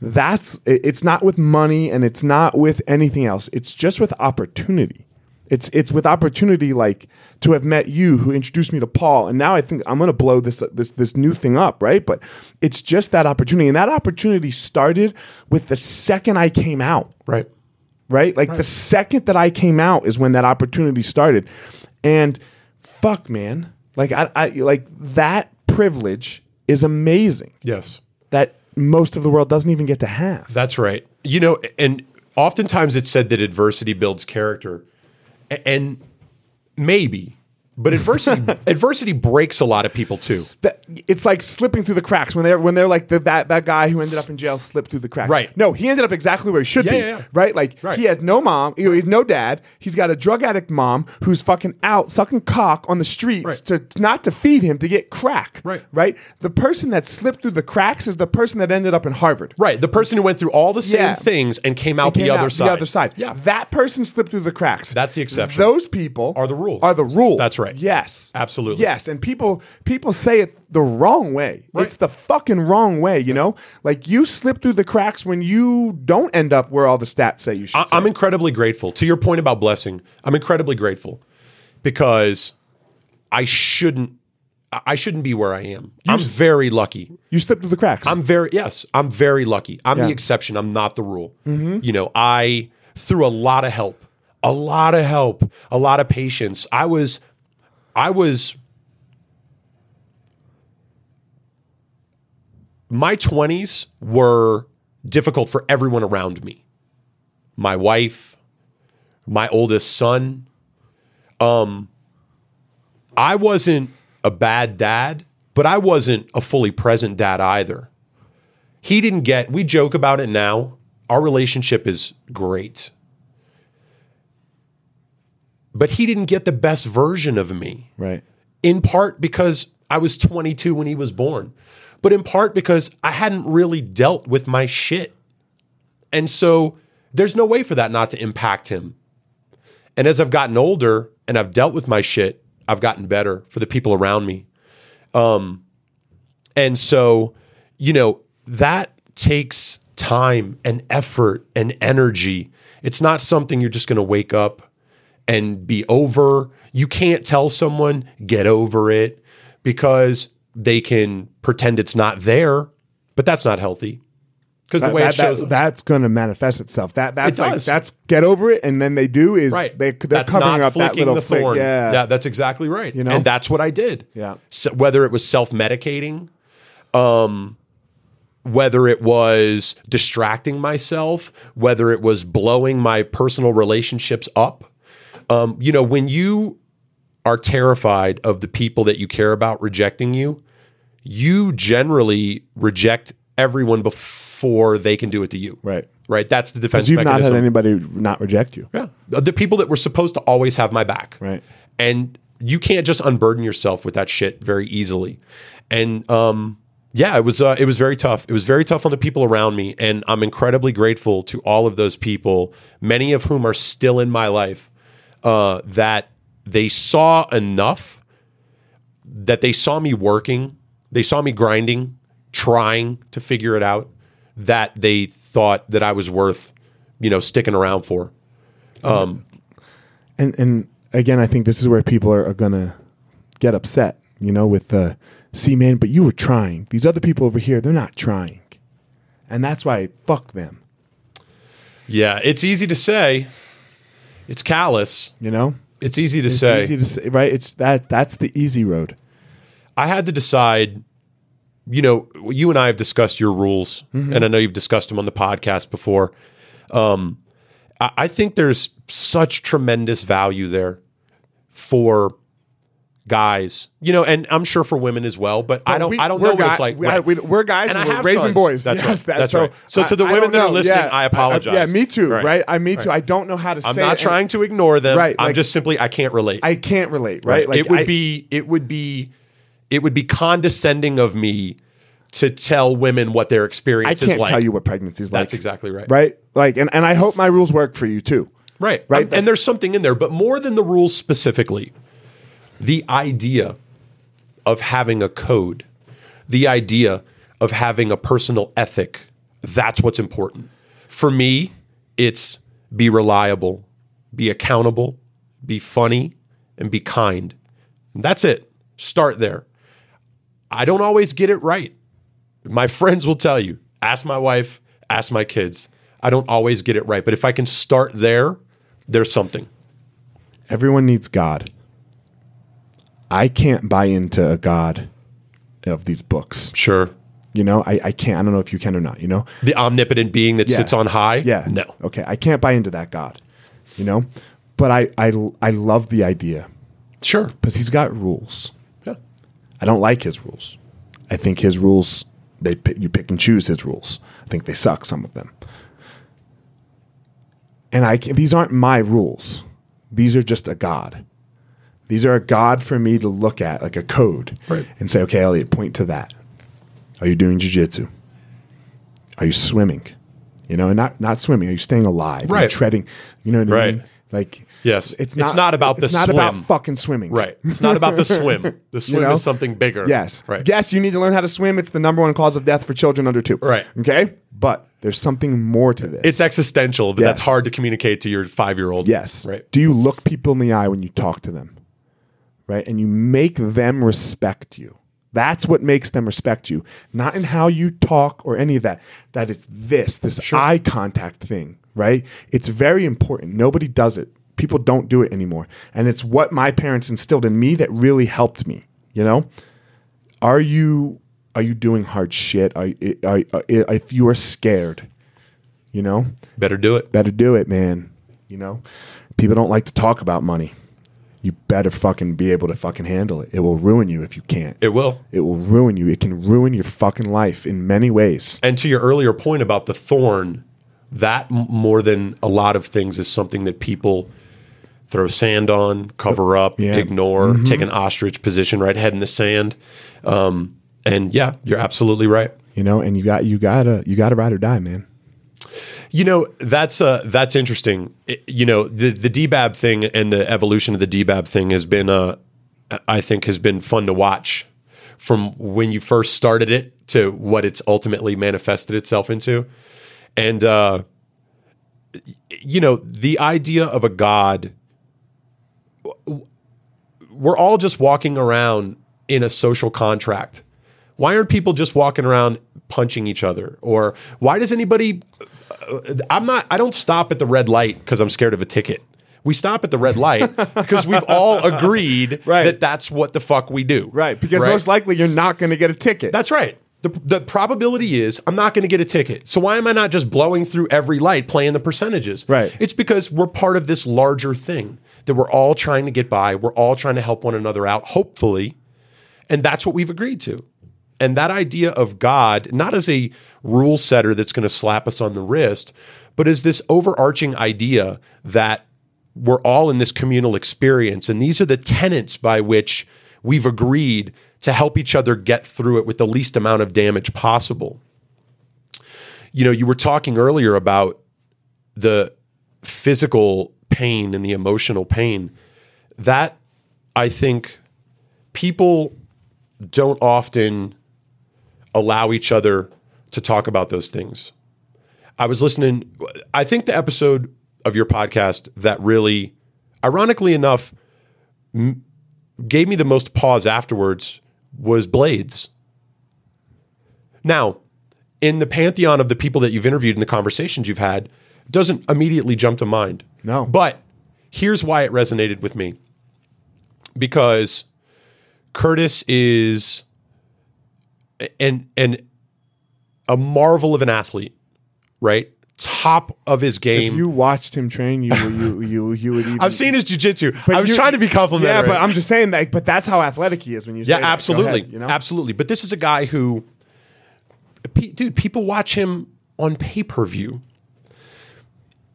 Speaker 1: That's, it- it's not with money and it's not with anything else. It's just with opportunity. It's, it's with opportunity like to have met you who introduced me to Paul and now I think I'm gonna blow this this this new thing up right but it's just that opportunity and that opportunity started with the second I came out
Speaker 3: right.
Speaker 1: right? Like the second that I came out is when that opportunity started. And fuck, man, like I, I like that privilege is amazing
Speaker 3: Yes.
Speaker 1: that most of the world doesn't even get to have.
Speaker 3: That's right. You know, and oftentimes it's said that adversity builds character. A- And maybe, but adversity adversity breaks a lot of people too.
Speaker 1: That, it's like slipping through the cracks when they're when they're like the, that that guy who ended up in jail slipped through the cracks.
Speaker 3: Right.
Speaker 1: No, he ended up exactly where he should
Speaker 3: Yeah,
Speaker 1: be.
Speaker 3: yeah, yeah.
Speaker 1: Right. Like
Speaker 3: Right.
Speaker 1: he had no mom. you know, He has no dad. He's got a drug addict mom who's fucking out sucking cock on the streets
Speaker 3: Right.
Speaker 1: to not to feed him to get crack.
Speaker 3: Right.
Speaker 1: Right. The person that slipped through the cracks is the person that ended up in Harvard.
Speaker 3: Right. The person who went through all the same
Speaker 1: Yeah.
Speaker 3: things and came out,
Speaker 1: Came
Speaker 3: the, other
Speaker 1: out
Speaker 3: side.
Speaker 1: The other side.
Speaker 3: Yeah.
Speaker 1: That person slipped through the cracks.
Speaker 3: That's the exception.
Speaker 1: Those people
Speaker 3: Are the rule.
Speaker 1: Are the rule.
Speaker 3: That's right.
Speaker 1: Yes.
Speaker 3: Absolutely.
Speaker 1: Yes. And people people say it the wrong way.
Speaker 3: Right.
Speaker 1: It's the fucking wrong way, you know? Like you slip through the cracks when you don't end up where all the stats say you should.
Speaker 3: I,
Speaker 1: say.
Speaker 3: I'm incredibly grateful. To your point about blessing, I'm incredibly grateful because I shouldn't I I shouldn't be where I am. I'm very lucky.
Speaker 1: you slip through the cracks.
Speaker 3: I'm very yes. I'm very lucky. I'm
Speaker 1: Yeah.
Speaker 3: the exception. I'm not the rule. You know, I through a lot of help, a lot of help, a lot of patience. I was, I was. My twenties were difficult for everyone around me. My wife, my oldest son. Um, I wasn't a bad dad, but I wasn't a fully present dad either he didn't get we joke about it now our relationship is great but he didn't get the best version of me
Speaker 1: right.
Speaker 3: in part because i was 22 when he was born but in part because i hadn't really dealt with my shit and so there's no way for that not to impact him and as i've gotten older and i've dealt with my shit i've gotten better for the people around me and so, Um, you know, that takes time and effort and energy. It's not something you're just going to wake up and be over. You can't tell someone, get over it, because they can pretend it's not there, but that's not healthy. Because the way
Speaker 1: that,
Speaker 3: it shows
Speaker 1: that, that's going to manifest itself. That that's
Speaker 3: It
Speaker 1: like
Speaker 3: does.
Speaker 1: that's get over it, and then they do is
Speaker 3: Right.
Speaker 1: they they're
Speaker 3: That's
Speaker 1: covering
Speaker 3: not
Speaker 1: up that
Speaker 3: flicking
Speaker 1: little
Speaker 3: the
Speaker 1: flick.
Speaker 3: thorn.
Speaker 1: Yeah.
Speaker 3: yeah, that's exactly right.
Speaker 1: know?
Speaker 3: and that's what I did.
Speaker 1: Yeah.
Speaker 3: So whether it was self medicating, um, whether it was distracting myself, whether it was blowing my personal relationships up, um, you know, when you are terrified of the people that you care about rejecting you, you generally reject everyone before they can do it to you.
Speaker 1: Right.
Speaker 3: Right. That's the defense.
Speaker 1: You've not
Speaker 3: mechanism.
Speaker 1: had anybody not reject you.
Speaker 3: Yeah. The the people that were supposed to always have my back.
Speaker 1: Right.
Speaker 3: And you can't just unburden yourself with that shit very easily. And um yeah, it was uh, it was very tough. It was very tough on the people around me and I'm incredibly grateful to all of those people, many of whom are still in my life, uh that they saw enough that they saw me working, they saw me grinding, trying to figure it out that they thought that I was worth, you know, sticking around for.
Speaker 1: and and again, I think this is where people are, are gonna get upset, you know, with the see, man, but you were trying. These other people over here, they're not trying, and that's why fuck them,
Speaker 3: Yeah, it's easy to say. It's callous.
Speaker 1: you know.
Speaker 3: It's easy to say.
Speaker 1: easy to say, right? It's that that's the easy road.
Speaker 3: I had to decide. You know, you and I have discussed your rules,
Speaker 1: Mm-hmm.
Speaker 3: and I know you've discussed them on the podcast before. Um, I, I think there's such tremendous value there for guys, you know, and I'm sure for women as well. But I don't,
Speaker 1: We-
Speaker 3: I don't
Speaker 1: we're
Speaker 3: know what
Speaker 1: guy-
Speaker 3: it's like.
Speaker 1: We,
Speaker 3: when-
Speaker 1: we, are guys
Speaker 3: And
Speaker 1: and
Speaker 3: I
Speaker 1: we're
Speaker 3: have
Speaker 1: raising
Speaker 3: sons.
Speaker 1: boys.
Speaker 3: That's
Speaker 1: yes,
Speaker 3: right.
Speaker 1: That's,
Speaker 3: That's
Speaker 1: so,
Speaker 3: right. So to the
Speaker 1: I
Speaker 3: women
Speaker 1: don't
Speaker 3: that are
Speaker 1: know.
Speaker 3: listening, I
Speaker 1: yeah,
Speaker 3: apologize.
Speaker 1: me too. Right?
Speaker 3: Right.
Speaker 1: I me too. I don't know how to.
Speaker 3: I'm
Speaker 1: say
Speaker 3: not
Speaker 1: it, and
Speaker 3: trying to ignore them.
Speaker 1: Right,
Speaker 3: I'm
Speaker 1: like-
Speaker 3: just simply I can't relate.
Speaker 1: I can't relate. Right?
Speaker 3: it would
Speaker 1: I-
Speaker 3: be it would be it would be condescending of me to tell women what their
Speaker 1: I
Speaker 3: experience
Speaker 1: can't
Speaker 3: is like.
Speaker 1: tell you what pregnancy is like.
Speaker 3: That's exactly right.
Speaker 1: Right? Like, and and I hope my rules work for you too.
Speaker 3: Right.
Speaker 1: Right.
Speaker 3: Um, and there's something in there, but more than the rules specifically, the idea of having a code, the idea of having a personal ethic, that's what's important. For me, it's be reliable, be accountable, be funny, and be kind. And that's it. Start there. I don't always get it right. My friends will tell you. Ask my wife, ask my kids. I don't always get it right, but if I can start there, there's something.
Speaker 1: Everyone needs God. I can't buy into a God of these books.
Speaker 3: Sure.
Speaker 1: You know, I, I can't. I don't know if you can or not. You know,
Speaker 3: The omnipotent being that
Speaker 1: Yeah.
Speaker 3: sits on high?
Speaker 1: yeah,
Speaker 3: No.
Speaker 1: okay, I can't buy into that God. You know, but I I I love the idea
Speaker 3: Sure.
Speaker 1: because he's got rules.
Speaker 3: Yeah.
Speaker 1: I don't like his rules. I think his rules they pick, you pick and choose his rules. I think they suck some of them. And I can, these aren't my rules. These are just a god. These are a god for me to look at like a code
Speaker 3: Right.
Speaker 1: and say, okay, Elliot, point to that. Are you doing jujitsu? Are you swimming? You know, and not not swimming. Are you staying alive? Are you
Speaker 3: Right.
Speaker 1: treading? You know what I
Speaker 3: Right.
Speaker 1: mean? Like
Speaker 3: Yes. It's not about the
Speaker 1: it's not about
Speaker 3: swim.
Speaker 1: fucking swimming.
Speaker 3: Right. It's not about the swim. The swim
Speaker 1: know?
Speaker 3: is something bigger.
Speaker 1: Yes.
Speaker 3: Right.
Speaker 1: Yes, you need to learn how to swim. It's the number one cause of death for children under two.
Speaker 3: Right.
Speaker 1: Okay. But there's something more to this.
Speaker 3: It's existential, but that's
Speaker 1: Yes.
Speaker 3: hard to communicate to your five year old.
Speaker 1: yes.
Speaker 3: Right.
Speaker 1: Do you look people in the eye when you talk to them? Right. And you make them respect you. That's what makes them respect you, not in how you talk or any of that. That it's this, this eye contact thing, right? It's very important. Nobody does it. People don't do it anymore. And it's what my parents instilled in me that really helped me, you know? are you are you doing hard shit? Are, are, are, if you are scared, you know,
Speaker 3: Better do it.
Speaker 1: better do it, man. You know, people don't like to talk about money. You better fucking be able to fucking handle it. It will ruin you if you can't.
Speaker 3: It will.
Speaker 1: It will ruin you. It can ruin your fucking life in many ways.
Speaker 3: And to your earlier point about the thorn, that m- more than a lot of things is something that people throw sand on, cover up,
Speaker 1: Yeah.
Speaker 3: ignore, take an ostrich position, right? Head in the sand. Um, and yeah, you're absolutely right.
Speaker 1: You know, and you got you gotta you gotta ride or die, man.
Speaker 3: You know, that's uh, that's interesting. It- you know, the the DBAB thing and the evolution of the DBAB thing has been, uh, I think, has been fun to watch from when you first started it to what it's ultimately manifested itself into. And uh, you know, the idea of a god we're all just walking around in a social contract. Why aren't people just walking around punching each other? Or why does anybody? uh, I'm not. I don't stop at the red light because I'm scared of a ticket. We stop at the red light because we've all agreed
Speaker 1: Right.
Speaker 3: that that's what the fuck we do.
Speaker 1: Right, because most likely you're not going to get a ticket.
Speaker 3: That's right. The, the probability is I'm not going to get a ticket. So why am I not just blowing through every light playing the percentages?
Speaker 1: Right.
Speaker 3: It's because we're part of this larger thing that we're all trying to get by. We're all trying to help one another out, hopefully. And that's what we've agreed to. And that idea of God, not as a rule setter that's going to slap us on the wrist, but as this overarching idea that we're all in this communal experience. And these are the tenets by which we've agreed to help each other get through it with the least amount of damage possible. You know, you were talking earlier about the physical pain and the emotional pain. That, I think, people don't often allow each other to talk about those things. I was listening, I think the episode of your podcast that really, ironically enough, m- gave me the most pause afterwards was Blades. Now, in the pantheon of the people that you've interviewed and the conversations you've had, doesn't immediately jump to mind.
Speaker 1: No.
Speaker 3: But here's why it resonated with me because Curtis is an an a marvel of an athlete, right? Top of his
Speaker 1: If
Speaker 3: game.
Speaker 1: you watched him train, you you you you would even.
Speaker 3: I've seen his jujitsu.
Speaker 1: But
Speaker 3: I was
Speaker 1: you-
Speaker 3: trying to be
Speaker 1: Yeah,
Speaker 3: complimentary.
Speaker 1: but I'm just saying that. But that's how athletic he is when you say.
Speaker 3: yeah,
Speaker 1: that. Go
Speaker 3: absolutely,
Speaker 1: ahead, you know?
Speaker 3: absolutely. But this is a guy who, pe- dude, people watch him on pay per view,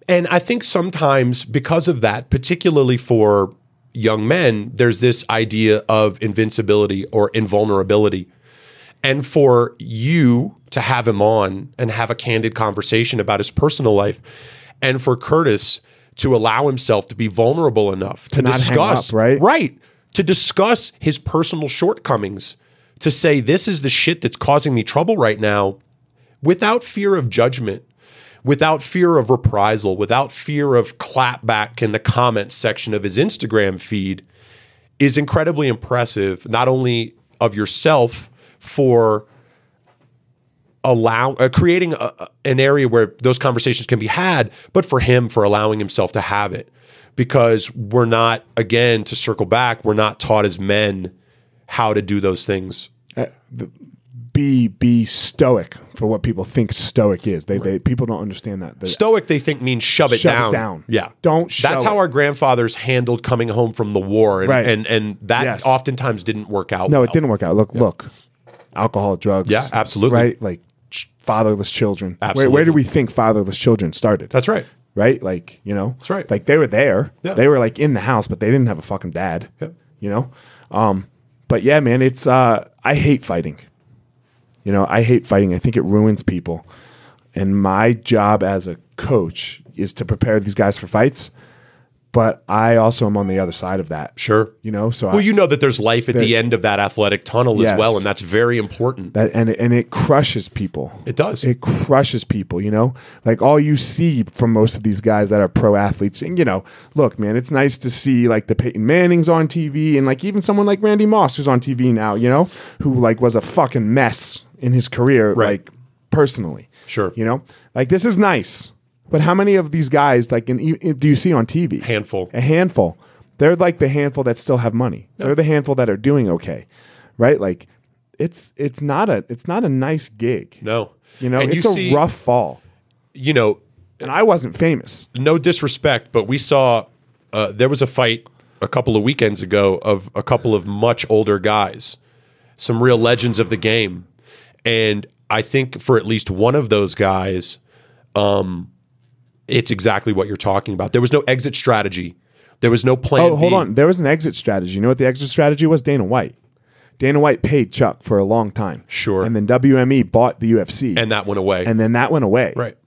Speaker 3: and I think sometimes because of that, particularly for young men, there's this idea of invincibility or invulnerability. and for you to have him on and have a candid conversation about his personal life and for Curtis to allow himself to be vulnerable enough to,
Speaker 1: not hang
Speaker 3: discuss
Speaker 1: up, right?
Speaker 3: right to discuss his personal shortcomings to say this is the shit that's causing me trouble right now without fear of judgment without fear of reprisal without fear of clapback in the comments section of his Instagram feed is incredibly impressive, not only of yourself for allow uh, creating a- a, an area where those conversations can be had, but for him for allowing himself to have it. Because we're not, again, to circle back, we're not taught as men how to do those things.
Speaker 1: Be be stoic for what people think stoic is. They they people don't understand that. They-
Speaker 3: Stoic, they think, means shove it
Speaker 1: Shove it
Speaker 3: down.
Speaker 1: down.
Speaker 3: Yeah,
Speaker 1: Don't show
Speaker 3: That's how
Speaker 1: it.
Speaker 3: our grandfathers handled coming home from the war, and
Speaker 1: Right.
Speaker 3: and, and that
Speaker 1: Yes.
Speaker 3: oftentimes didn't work out.
Speaker 1: no,
Speaker 3: well.
Speaker 1: it didn't work out. Look look, alcohol, drugs.
Speaker 3: Yeah, absolutely.
Speaker 1: Right, like ch- fatherless children. Where- Where,
Speaker 3: Absolutely.
Speaker 1: do we think fatherless children started?
Speaker 3: That's right.
Speaker 1: right? Like, you know, that's
Speaker 3: right.
Speaker 1: Like they were there.
Speaker 3: Yeah.
Speaker 1: They were like in the house, but they didn't have a fucking dad.
Speaker 3: Yeah.
Speaker 1: You know? Um, but yeah, man, it's uh I hate fighting. You know, I hate fighting. I think it ruins people. And my job as a coach is to prepare these guys for fights, but I also am on the other side of that.
Speaker 3: Sure.
Speaker 1: You know, so I,
Speaker 3: Well, you know that there's life at the end of that athletic tunnel as
Speaker 1: Yes.
Speaker 3: well, and that's very important.
Speaker 1: that and it, and it crushes people.
Speaker 3: It does.
Speaker 1: It crushes people, you know? Like all you see from most of these guys that are pro athletes, and you know, look, man, it's nice to see like the Peyton Mannings on TV and like even someone like Randy Moss who's on TV now, you know, who like was a fucking mess in his career,
Speaker 3: Right.
Speaker 1: like personally.
Speaker 3: Sure.
Speaker 1: You know? Like this is nice. But how many of these guys like in, in, do you see on TV?
Speaker 3: Handful.
Speaker 1: a handful. They're like the handful that still have money. They're the handful that are doing okay, right? Like, it's it's not a it's not a nice gig.
Speaker 3: No.
Speaker 1: you know,
Speaker 3: And
Speaker 1: it's a
Speaker 3: see-
Speaker 1: rough fall.
Speaker 3: You know,
Speaker 1: And I wasn't famous.
Speaker 3: no disrespect, but we saw uh, there was a fight a couple of weekends ago of a couple of much older guys, some real legends of the game, and I think for at least one of those guys, um, it's exactly what you're talking about. There was no exit strategy. There was no plan.
Speaker 1: Oh, hold
Speaker 3: B.
Speaker 1: on. There was an exit strategy. You know what the exit strategy was? Dana White. Dana White paid Chuck for a long time.
Speaker 3: Sure.
Speaker 1: And then WME bought the UFC.
Speaker 3: And that went away.
Speaker 1: and then that went away.
Speaker 3: Right.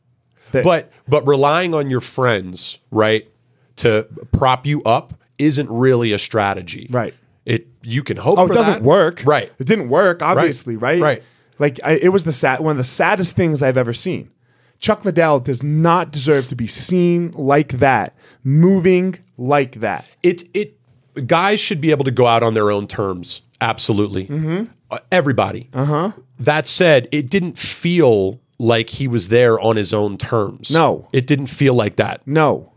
Speaker 1: That-
Speaker 3: but but relying on your friends, right, to prop you up isn't really a strategy.
Speaker 1: Right.
Speaker 3: It you can hope
Speaker 1: Oh,
Speaker 3: for
Speaker 1: it doesn't
Speaker 3: that.
Speaker 1: work.
Speaker 3: Right.
Speaker 1: It didn't work, obviously, right?
Speaker 3: Right.
Speaker 1: Like I, it was the sad, one of the saddest things I've ever seen. Chuck Liddell does not deserve to be seen like that, moving like that.
Speaker 3: it it guys should be able to go out on their own terms. Absolutely,
Speaker 1: Mm-hmm.
Speaker 3: Uh, everybody. Uh
Speaker 1: Uh-huh.
Speaker 3: huh. That said, it didn't feel like he was there on his own terms.
Speaker 1: No.
Speaker 3: it didn't feel like that.
Speaker 1: No,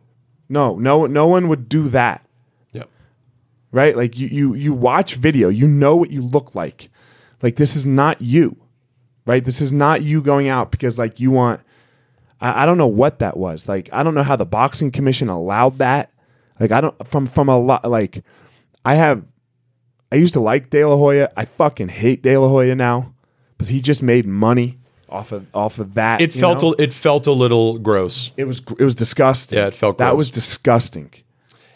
Speaker 1: no, no, no one would do that,
Speaker 3: Yep.
Speaker 1: right? Like you, you, you watch video, you know what you look like. Like this is not you, right? This is not you going out because like you want. I, I don't know what that was. Like I don't know how the boxing commission allowed that. Like I don't from from a lot. Like I have. I used to like De La Hoya. I fucking hate De La Hoya now, because he just made money off of off of that.
Speaker 3: It
Speaker 1: you
Speaker 3: felt
Speaker 1: know?
Speaker 3: a, it felt a little gross.
Speaker 1: It was gr- it was disgusting.
Speaker 3: Yeah, it felt
Speaker 1: that
Speaker 3: gross.
Speaker 1: was disgusting.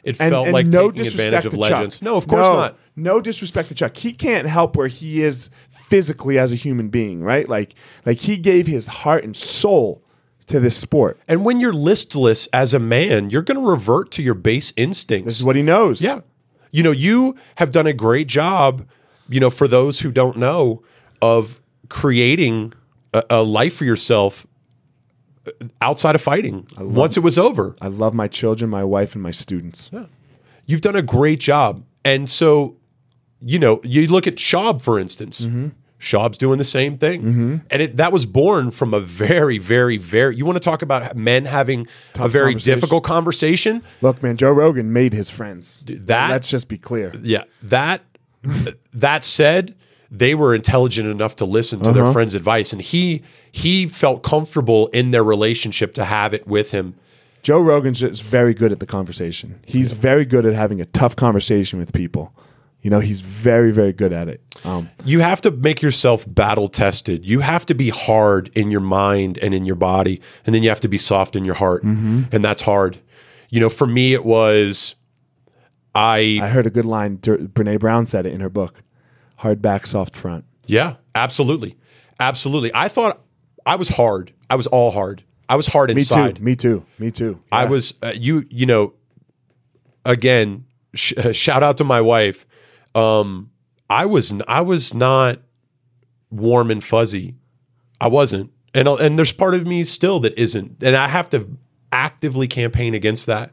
Speaker 3: It
Speaker 1: And,
Speaker 3: felt
Speaker 1: and
Speaker 3: like
Speaker 1: no
Speaker 3: taking
Speaker 1: disrespect
Speaker 3: advantage of
Speaker 1: to Chuck.
Speaker 3: legends. No, of course not.
Speaker 1: No disrespect to Chuck. He can't help where he is physically as a human being, right? Like like he gave his heart and soul to this sport.
Speaker 3: And when you're listless as a man, you're going to revert to your base instincts.
Speaker 1: This is what he knows.
Speaker 3: Yeah. You know, you have done a great job, you know, for those who don't know, of creating a, a life for yourself uh, outside of fighting once it was over.
Speaker 1: I love my children, my wife, and my students.
Speaker 3: You've done a great job. And so, you know, you look at Schaub, for instance. Schaub's doing the same thing. And it, that was born from a very, very, very, you want to talk about men having a very
Speaker 1: conversation.
Speaker 3: difficult conversation?
Speaker 1: Look, man, Joe Rogan made his friends.
Speaker 3: that-
Speaker 1: let's just be clear.
Speaker 3: Yeah. That that said, they were intelligent enough to listen to
Speaker 1: Uh-huh.
Speaker 3: their friend's advice and he he felt comfortable in their relationship to have it with him.
Speaker 1: Joe Rogan's just very good at the conversation. He's very good at having a tough conversation with people. You know, he's very, very good at it. Um,
Speaker 3: You have to make yourself battle tested. You have to be hard in your mind and in your body and then you have to be soft in your heart.
Speaker 1: Mm-hmm.
Speaker 3: And that's hard. You know, for me it was I
Speaker 1: I heard a good line. Dur- Brene Brown said it in her book hard back, soft front.
Speaker 3: Yeah, absolutely. Absolutely. I thought I was hard. I was all hard. I was hard
Speaker 1: Me
Speaker 3: inside.
Speaker 1: too. Me too. Me too.
Speaker 3: I
Speaker 1: Yeah.
Speaker 3: was uh, you you know again sh- shout out to my wife um I was n- I was not warm and fuzzy I wasn't and I'll- and there's part of me still that isn't and I have to actively campaign against that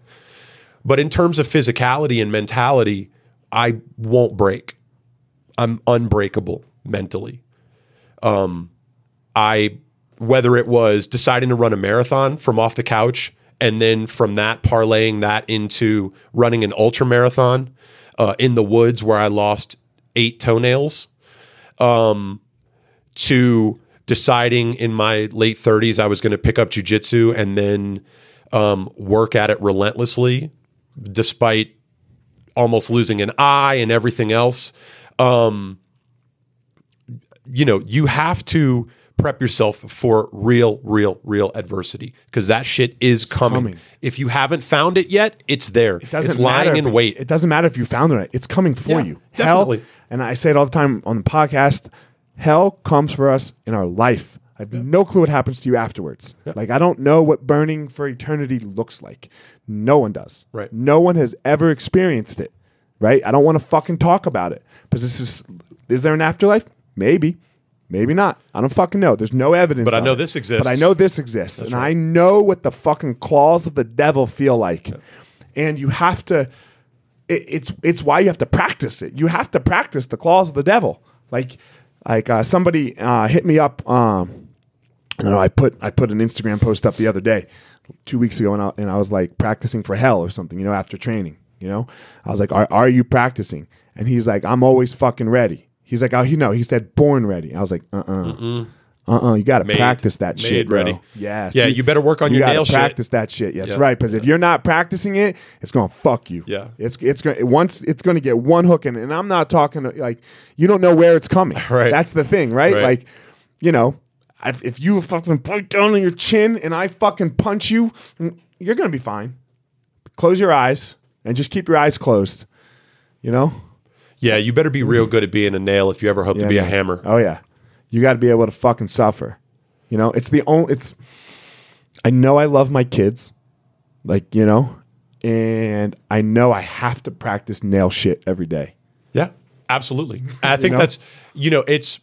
Speaker 3: but in terms of physicality and mentality I won't break I'm unbreakable mentally I whether it was deciding to run a marathon from off the couch and then from that parlaying that into running an ultra marathon uh, in the woods where I lost eight toenails to deciding in my late 30s I was going to pick up jujitsu and then um, work at it relentlessly, despite almost losing an eye and everything else. Um, you know, you have to prep yourself for real, real, real adversity because that shit is coming.
Speaker 1: coming.
Speaker 3: If you haven't found it yet, it's there. It
Speaker 1: doesn't
Speaker 3: it's lying
Speaker 1: matter
Speaker 3: in
Speaker 1: if-
Speaker 3: wait.
Speaker 1: It doesn't matter if you found it. or not. It's coming for
Speaker 3: Yeah,
Speaker 1: you.
Speaker 3: definitely.
Speaker 1: Hell, and I say it all the time on the podcast. Hell comes for us in our life. I have no clue what happens to you afterwards. Like I don't know what burning for eternity looks like. No one does.
Speaker 3: Right.
Speaker 1: No one has ever experienced it. Right. I don't want to fucking talk about it because this is. Is there an afterlife? Maybe. Maybe not. I don't fucking know. There's no evidence.
Speaker 3: But I
Speaker 1: of
Speaker 3: know
Speaker 1: it.
Speaker 3: this exists.
Speaker 1: But I know this exists, and I know what the fucking claws of the devil feel like. And you have to. It, it's it's why you have to practice it. You have to practice the claws of the devil. Like like uh, somebody uh, hit me up. Um, I don't know. I put I put an Instagram post up the other day, two weeks ago, and I, and I was like practicing for hell or something. You know, after training. You know, I was like, are, are you practicing? And he's like, I'm always fucking ready. He's like, oh, you know, he said born ready. I was like, uh uh-uh. uh. Uh uh you got to practice that
Speaker 3: made
Speaker 1: shit, bro.
Speaker 3: ready.
Speaker 1: Yes.
Speaker 3: Yeah, you better work on your
Speaker 1: gotta
Speaker 3: nail shit.
Speaker 1: practice that shit. Yeah, that's
Speaker 3: Yeah.
Speaker 1: right. Because if you're not practicing it, it's gonna fuck you.
Speaker 3: Yeah.
Speaker 1: it's it's gonna once it's gonna get one hook in, it. and I'm not talking like you don't know where it's coming.
Speaker 3: Right.
Speaker 1: that's the thing, right?
Speaker 3: Right.
Speaker 1: Like, you know, if, if you fucking point down on your chin and I fucking punch you, mm, you're gonna be fine. Close your eyes and just keep your eyes closed. You know,
Speaker 3: Yeah, you better be real good at being a nail if you ever hope to be a
Speaker 1: man.
Speaker 3: hammer.
Speaker 1: Oh yeah, you got to be able to fucking suffer. You know, it's the only. It's. I know I love my kids, like you know, and I know I have to practice nail shit every day.
Speaker 3: Yeah, absolutely. And I think
Speaker 1: know?
Speaker 3: that's you know it's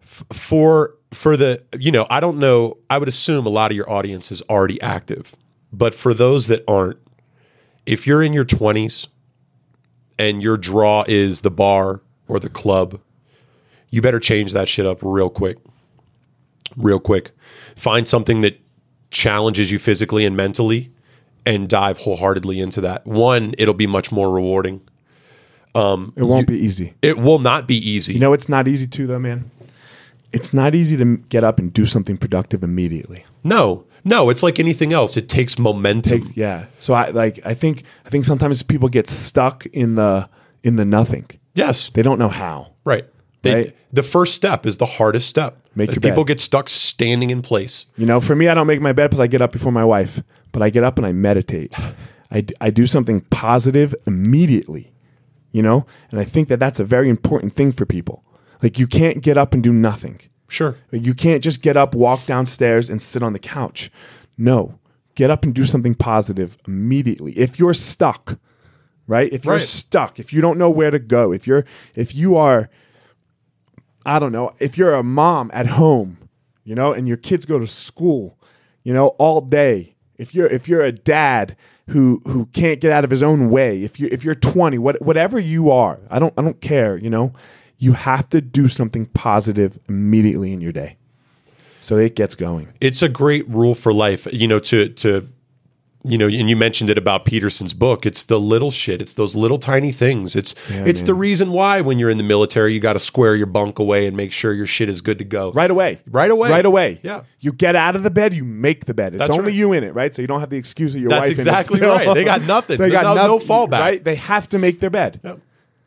Speaker 3: for for the you know i don't know i would assume a lot of your audience is already active but for those that aren't if you're in your 20s and your draw is the bar or the club you better change that shit up real quick real quick find something that challenges you physically and mentally and dive wholeheartedly into that one it'll be much more rewarding
Speaker 1: It won't be easy.
Speaker 3: it will not be easy
Speaker 1: You know, it's not easy too, though, man. It's not easy to m- get up and do something productive immediately.
Speaker 3: No, no, it's like anything else. It takes momentum.
Speaker 1: Yeah. So I like. I think. I think sometimes people get stuck in the in the nothing.
Speaker 3: yes,
Speaker 1: They don't know how.
Speaker 3: right. They,
Speaker 1: Right.
Speaker 3: The first step is the hardest step.
Speaker 1: Make
Speaker 3: Uh,
Speaker 1: your
Speaker 3: people
Speaker 1: bed.
Speaker 3: get stuck standing in place.
Speaker 1: You know, for me, I don't make my bed because I get up before my wife, but I get up and I meditate. I, d- I do something positive immediately, you know? And I think that that's a very important thing for people. Like, you can't get up and do nothing.
Speaker 3: Sure.
Speaker 1: Like, You can't just get up, walk downstairs, and sit on the couch. No, get up and do something positive immediately. If you're stuck, right? If you're
Speaker 3: Right.
Speaker 1: stuck, if you don't know where to go, if you're, if you are, I don't know, if you're a mom at home, you know, and your kids go to school, you know, all day. If you're if you're a dad who who can't get out of his own way, if you if you're 20, what, whatever you are, I don't I don't care, you know, you have to do something positive immediately in your day. So it gets going.
Speaker 3: It's a great rule for life. You know, to to you know, and you mentioned it about Peterson's book. It's the little shit. It's those little tiny things. It's it's the reason why when you're in the military, you got to square your bunk away and make sure your shit is good to go.
Speaker 1: Right away.
Speaker 3: Right away.
Speaker 1: Right away.
Speaker 3: Yeah.
Speaker 1: You get out of the bed, you make the bed. It's
Speaker 3: That's
Speaker 1: only
Speaker 3: right.
Speaker 1: you in it, right? So you don't have the excuse that your
Speaker 3: That's
Speaker 1: wife in it
Speaker 3: exactly
Speaker 1: still.
Speaker 3: right. They got nothing.
Speaker 1: they got
Speaker 3: No- no
Speaker 1: nothing,
Speaker 3: fallback.
Speaker 1: Right? They have to make their bed.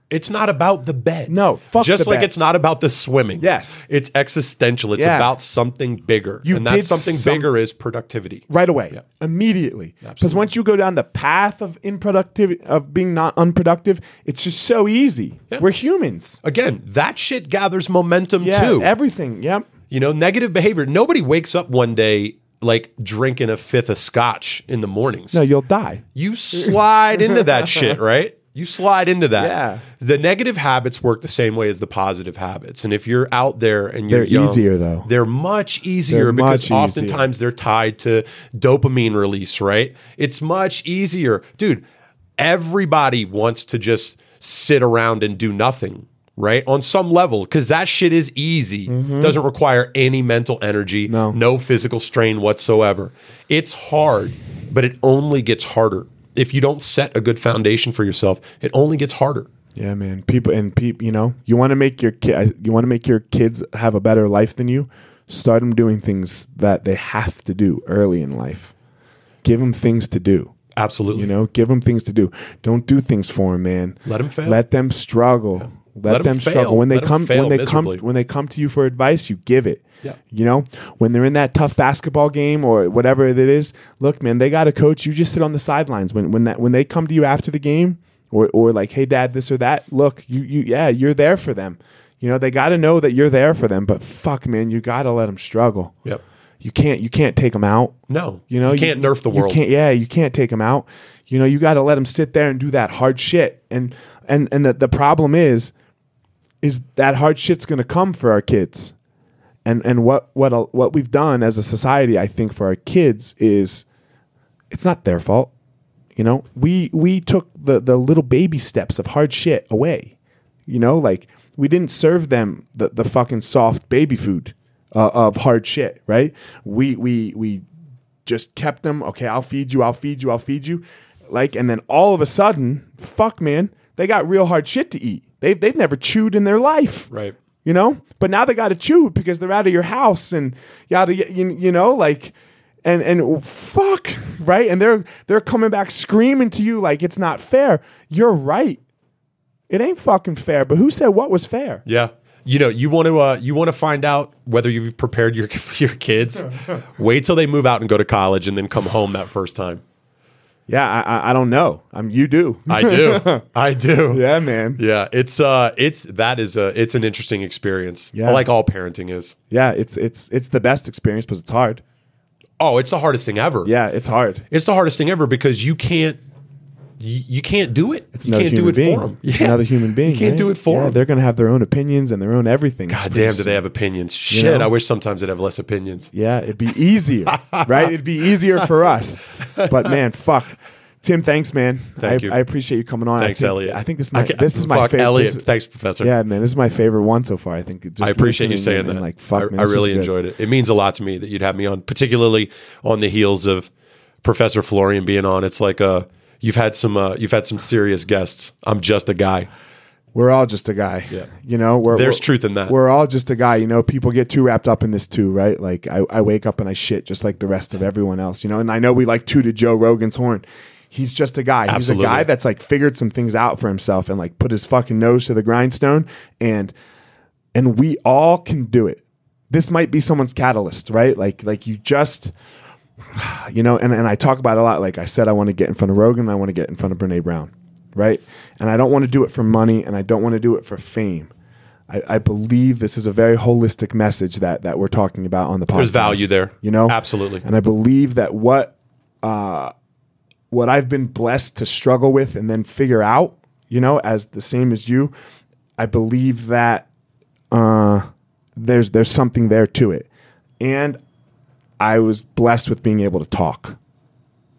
Speaker 3: It's not about the bed.
Speaker 1: No, fuck
Speaker 3: Just
Speaker 1: the
Speaker 3: like
Speaker 1: bed.
Speaker 3: it's not about the swimming.
Speaker 1: Yes.
Speaker 3: It's existential. It's
Speaker 1: Yeah.
Speaker 3: about something bigger.
Speaker 1: You
Speaker 3: and that
Speaker 1: did
Speaker 3: something
Speaker 1: some-
Speaker 3: bigger is productivity.
Speaker 1: right away, immediately. Because once you go down the path of improductivity, of being not unproductive, it's just so easy. We're humans.
Speaker 3: Again, that shit gathers momentum
Speaker 1: Yeah,
Speaker 3: too.
Speaker 1: everything. Yep.
Speaker 3: you know, negative behavior. Nobody wakes up one day like drinking a fifth of scotch in the mornings.
Speaker 1: No, you'll die.
Speaker 3: You slide into that shit, right? You slide into that.
Speaker 1: Yeah.
Speaker 3: The negative habits work the same way as the positive habits. And if you're out there and you're
Speaker 1: They're
Speaker 3: young,
Speaker 1: easier, though.
Speaker 3: They're much easier
Speaker 1: They're
Speaker 3: because
Speaker 1: much
Speaker 3: oftentimes they're tied to dopamine release, right? It's much easier. Dude, everybody wants to just sit around and do nothing. Right on some level, because that shit is easy. Doesn't require any mental energy,
Speaker 1: Mm-hmm. No.
Speaker 3: no physical strain whatsoever. It's hard, but it only gets harder. If you don't set a good foundation for yourself, it only gets harder.
Speaker 1: Yeah, man. People and people, you know, you want to make your kid, you want to make your kids have a better life than you. Start them doing things that they have to do early in life. Give them things to do.
Speaker 3: Absolutely.
Speaker 1: You know, give them things to do. Don't do things for them, man.
Speaker 3: Let 'em fail.
Speaker 1: Let them struggle. Let,
Speaker 3: Let 'em
Speaker 1: them
Speaker 3: fail.
Speaker 1: struggle. When they
Speaker 3: Let 'em
Speaker 1: come,
Speaker 3: fail
Speaker 1: when they
Speaker 3: miserably.
Speaker 1: come, when they come to you for advice, you give it.
Speaker 3: Yeah.
Speaker 1: You know, when they're in that tough basketball game or whatever it is, look, man, they got a coach. You just sit on the sidelines when when that when they come to you after the game or or like, hey, dad, this or that. Look, you you yeah, you're there for them. You know, they got to know that you're there for them. But fuck, man, you got to let them struggle.
Speaker 3: Yep.
Speaker 1: You can't you can't take them out.
Speaker 3: No.
Speaker 1: You know,
Speaker 3: you can't nerf the
Speaker 1: you
Speaker 3: world.
Speaker 1: can't- yeah, you can't take them out. You know, you got to let them sit there and do that hard shit. And and and the, the problem is, is that hard shit's going to come for our kids. And and what what a- what we've done as a society, I think, for our kids is, it's not their fault. You know, we we took the the little baby steps of hard shit away. You know, like we didn't serve them the the fucking soft baby food uh, of hard shit, right? We we we just kept them. Okay, I'll feed you. I'll feed you. I'll feed you. Like, and then all of a sudden, fuck, man, they got real hard shit to eat. They've they've never chewed in their life,
Speaker 3: Right.
Speaker 1: You know, but now they got to chew because they're out of your house and yada. y- You, you know, like. And and fuck right, and they're they're coming back screaming to you like it's not fair. You're right, it ain't fucking fair. But who said what was fair?
Speaker 3: Yeah. You know, you want to uh, you want to find out whether you've prepared your your kids. Wait till they move out and go to college, and then come home that first time.
Speaker 1: Yeah, I I, I don't know. I'm you do.
Speaker 3: I do, I do.
Speaker 1: yeah, man.
Speaker 3: yeah. It's uh, it's that is a it's an interesting experience.
Speaker 1: Yeah.
Speaker 3: like all parenting is.
Speaker 1: Yeah, it's it's it's the best experience, but it's hard.
Speaker 3: Oh, it's the hardest thing ever.
Speaker 1: Yeah, it's hard.
Speaker 3: It's the hardest thing ever because you can't you, you can't do it.
Speaker 1: It's
Speaker 3: you
Speaker 1: another
Speaker 3: can't
Speaker 1: human
Speaker 3: do it
Speaker 1: being.
Speaker 3: for them.
Speaker 1: It's another human being.
Speaker 3: You can't
Speaker 1: right?
Speaker 3: do it for
Speaker 1: Yeah,
Speaker 3: them.
Speaker 1: They're going to have their own opinions and their own everything. It's
Speaker 3: God
Speaker 1: pretty
Speaker 3: damn, do they
Speaker 1: sick.
Speaker 3: have opinions? Shit,
Speaker 1: know?
Speaker 3: I wish sometimes they'd have less opinions.
Speaker 1: Yeah, it'd be easier, right? It'd be easier for us. But man, fuck. Tim, thanks, man.
Speaker 3: Thank
Speaker 1: I,
Speaker 3: you.
Speaker 1: I appreciate you coming on.
Speaker 3: Thanks,
Speaker 1: I think,
Speaker 3: Elliot.
Speaker 1: I think this might,
Speaker 3: can't-
Speaker 1: this is my
Speaker 3: fuck,
Speaker 1: favorite.
Speaker 3: Elliot,
Speaker 1: this is-
Speaker 3: thanks, Professor.
Speaker 1: yeah, man, this is my favorite one so far. I think it just
Speaker 3: I appreciate you
Speaker 1: listening
Speaker 3: saying
Speaker 1: and being
Speaker 3: that.
Speaker 1: Like, fuck,
Speaker 3: I,
Speaker 1: man,
Speaker 3: I
Speaker 1: this was
Speaker 3: really
Speaker 1: good.
Speaker 3: enjoyed it. It means a lot to me that you'd have me on, particularly on the heels of Professor Florian being on. It's like uh, you've had some uh, you've had some serious guests. I'm just a guy.
Speaker 1: We're all just a guy.
Speaker 3: Yeah.
Speaker 1: You know, we're,
Speaker 3: There's
Speaker 1: we're-
Speaker 3: truth in that.
Speaker 1: We're all just a guy. You know, people get too wrapped up in this too, right? Like I, I wake up and I shit just like the rest of everyone else, you know, and I know we like tooted Joe Rogan's horn. He's just a guy.
Speaker 3: Absolutely.
Speaker 1: He's a guy that's like figured some things out for himself and like put his fucking nose to the grindstone and and we all can do it. This might be someone's catalyst, right? Like like you just you know, and, and I talk about it a lot. Like I said, I want to get in front of Rogan, I want to get in front of Brene Brown, right? And I don't want to do it for money, and I don't want to do it for fame. I, I believe this is a very holistic message that that we're talking about on the podcast.
Speaker 3: There's value there.
Speaker 1: you know,
Speaker 3: Absolutely.
Speaker 1: And I believe that what uh, what I've been blessed to struggle with and then figure out, you know, as the same as you, I believe that uh, there's there's something there to it, and I was blessed with being able to talk.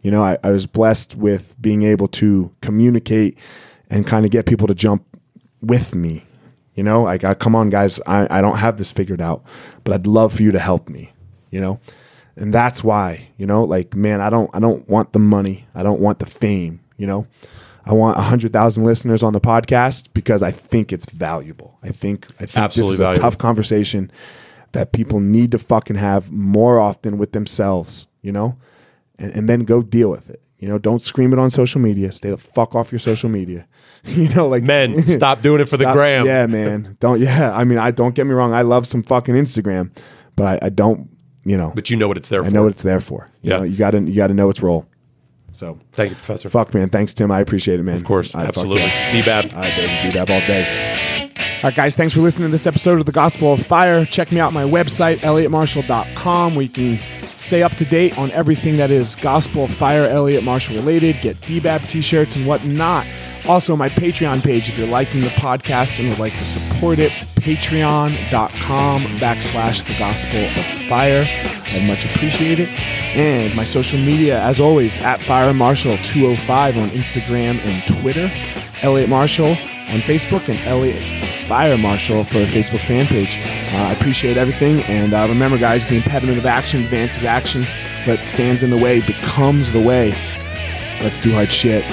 Speaker 1: You know, I, I was blessed with being able to communicate and kind of get people to jump with me. You know, like, I, come on, guys, I, I don't have this figured out, but I'd love for you to help me, you know? And that's why, you know, like, man, I don't, I don't want the money. I don't want the fame, you know? I want 100,000 listeners on the podcast because I think it's valuable. I think, I think
Speaker 3: Absolutely
Speaker 1: this is a
Speaker 3: valuable.
Speaker 1: tough conversation that people need to fucking have more often with themselves, you know? and, and then go deal with it. You know, don't scream it on social media. Stay the fuck off your social media. you know, like
Speaker 3: Men, stop doing it for the
Speaker 1: Stop-
Speaker 3: gram.
Speaker 1: Yeah, man. Don't. Yeah, I mean, I don't get me wrong. I love some fucking Instagram, but I, I don't. You know,
Speaker 3: But you know what it's there
Speaker 1: I
Speaker 3: for.
Speaker 1: know what it's there for. You
Speaker 3: Yeah.
Speaker 1: know, you gotta you gotta know its role. So
Speaker 3: Thank you, Professor.
Speaker 1: fuck, man. Thanks, Tim. I appreciate it, man.
Speaker 3: Of course, absolutely. D-Bab.
Speaker 1: All right, baby. Do that all day. All right, guys, thanks for listening to this episode of The Gospel of Fire. Check me out on my website, elliottmarshall.com, where you can stay up to date on everything that is Gospel of Fire, Elliot Marshall related, get DBAB t shirts and whatnot. Also, my Patreon page, if you're liking the podcast and would like to support it, patreon.com backslash The Gospel of Fire. I'd much appreciate it. And my social media, as always, at FireMarshall205 on Instagram and Twitter. Elliot Marshall on Facebook and Elliot Fire Marshall for a Facebook fan page. Uh, I appreciate everything. And uh, remember, guys, the impediment of action advances action. What stands in the way becomes the way. Let's do hard shit.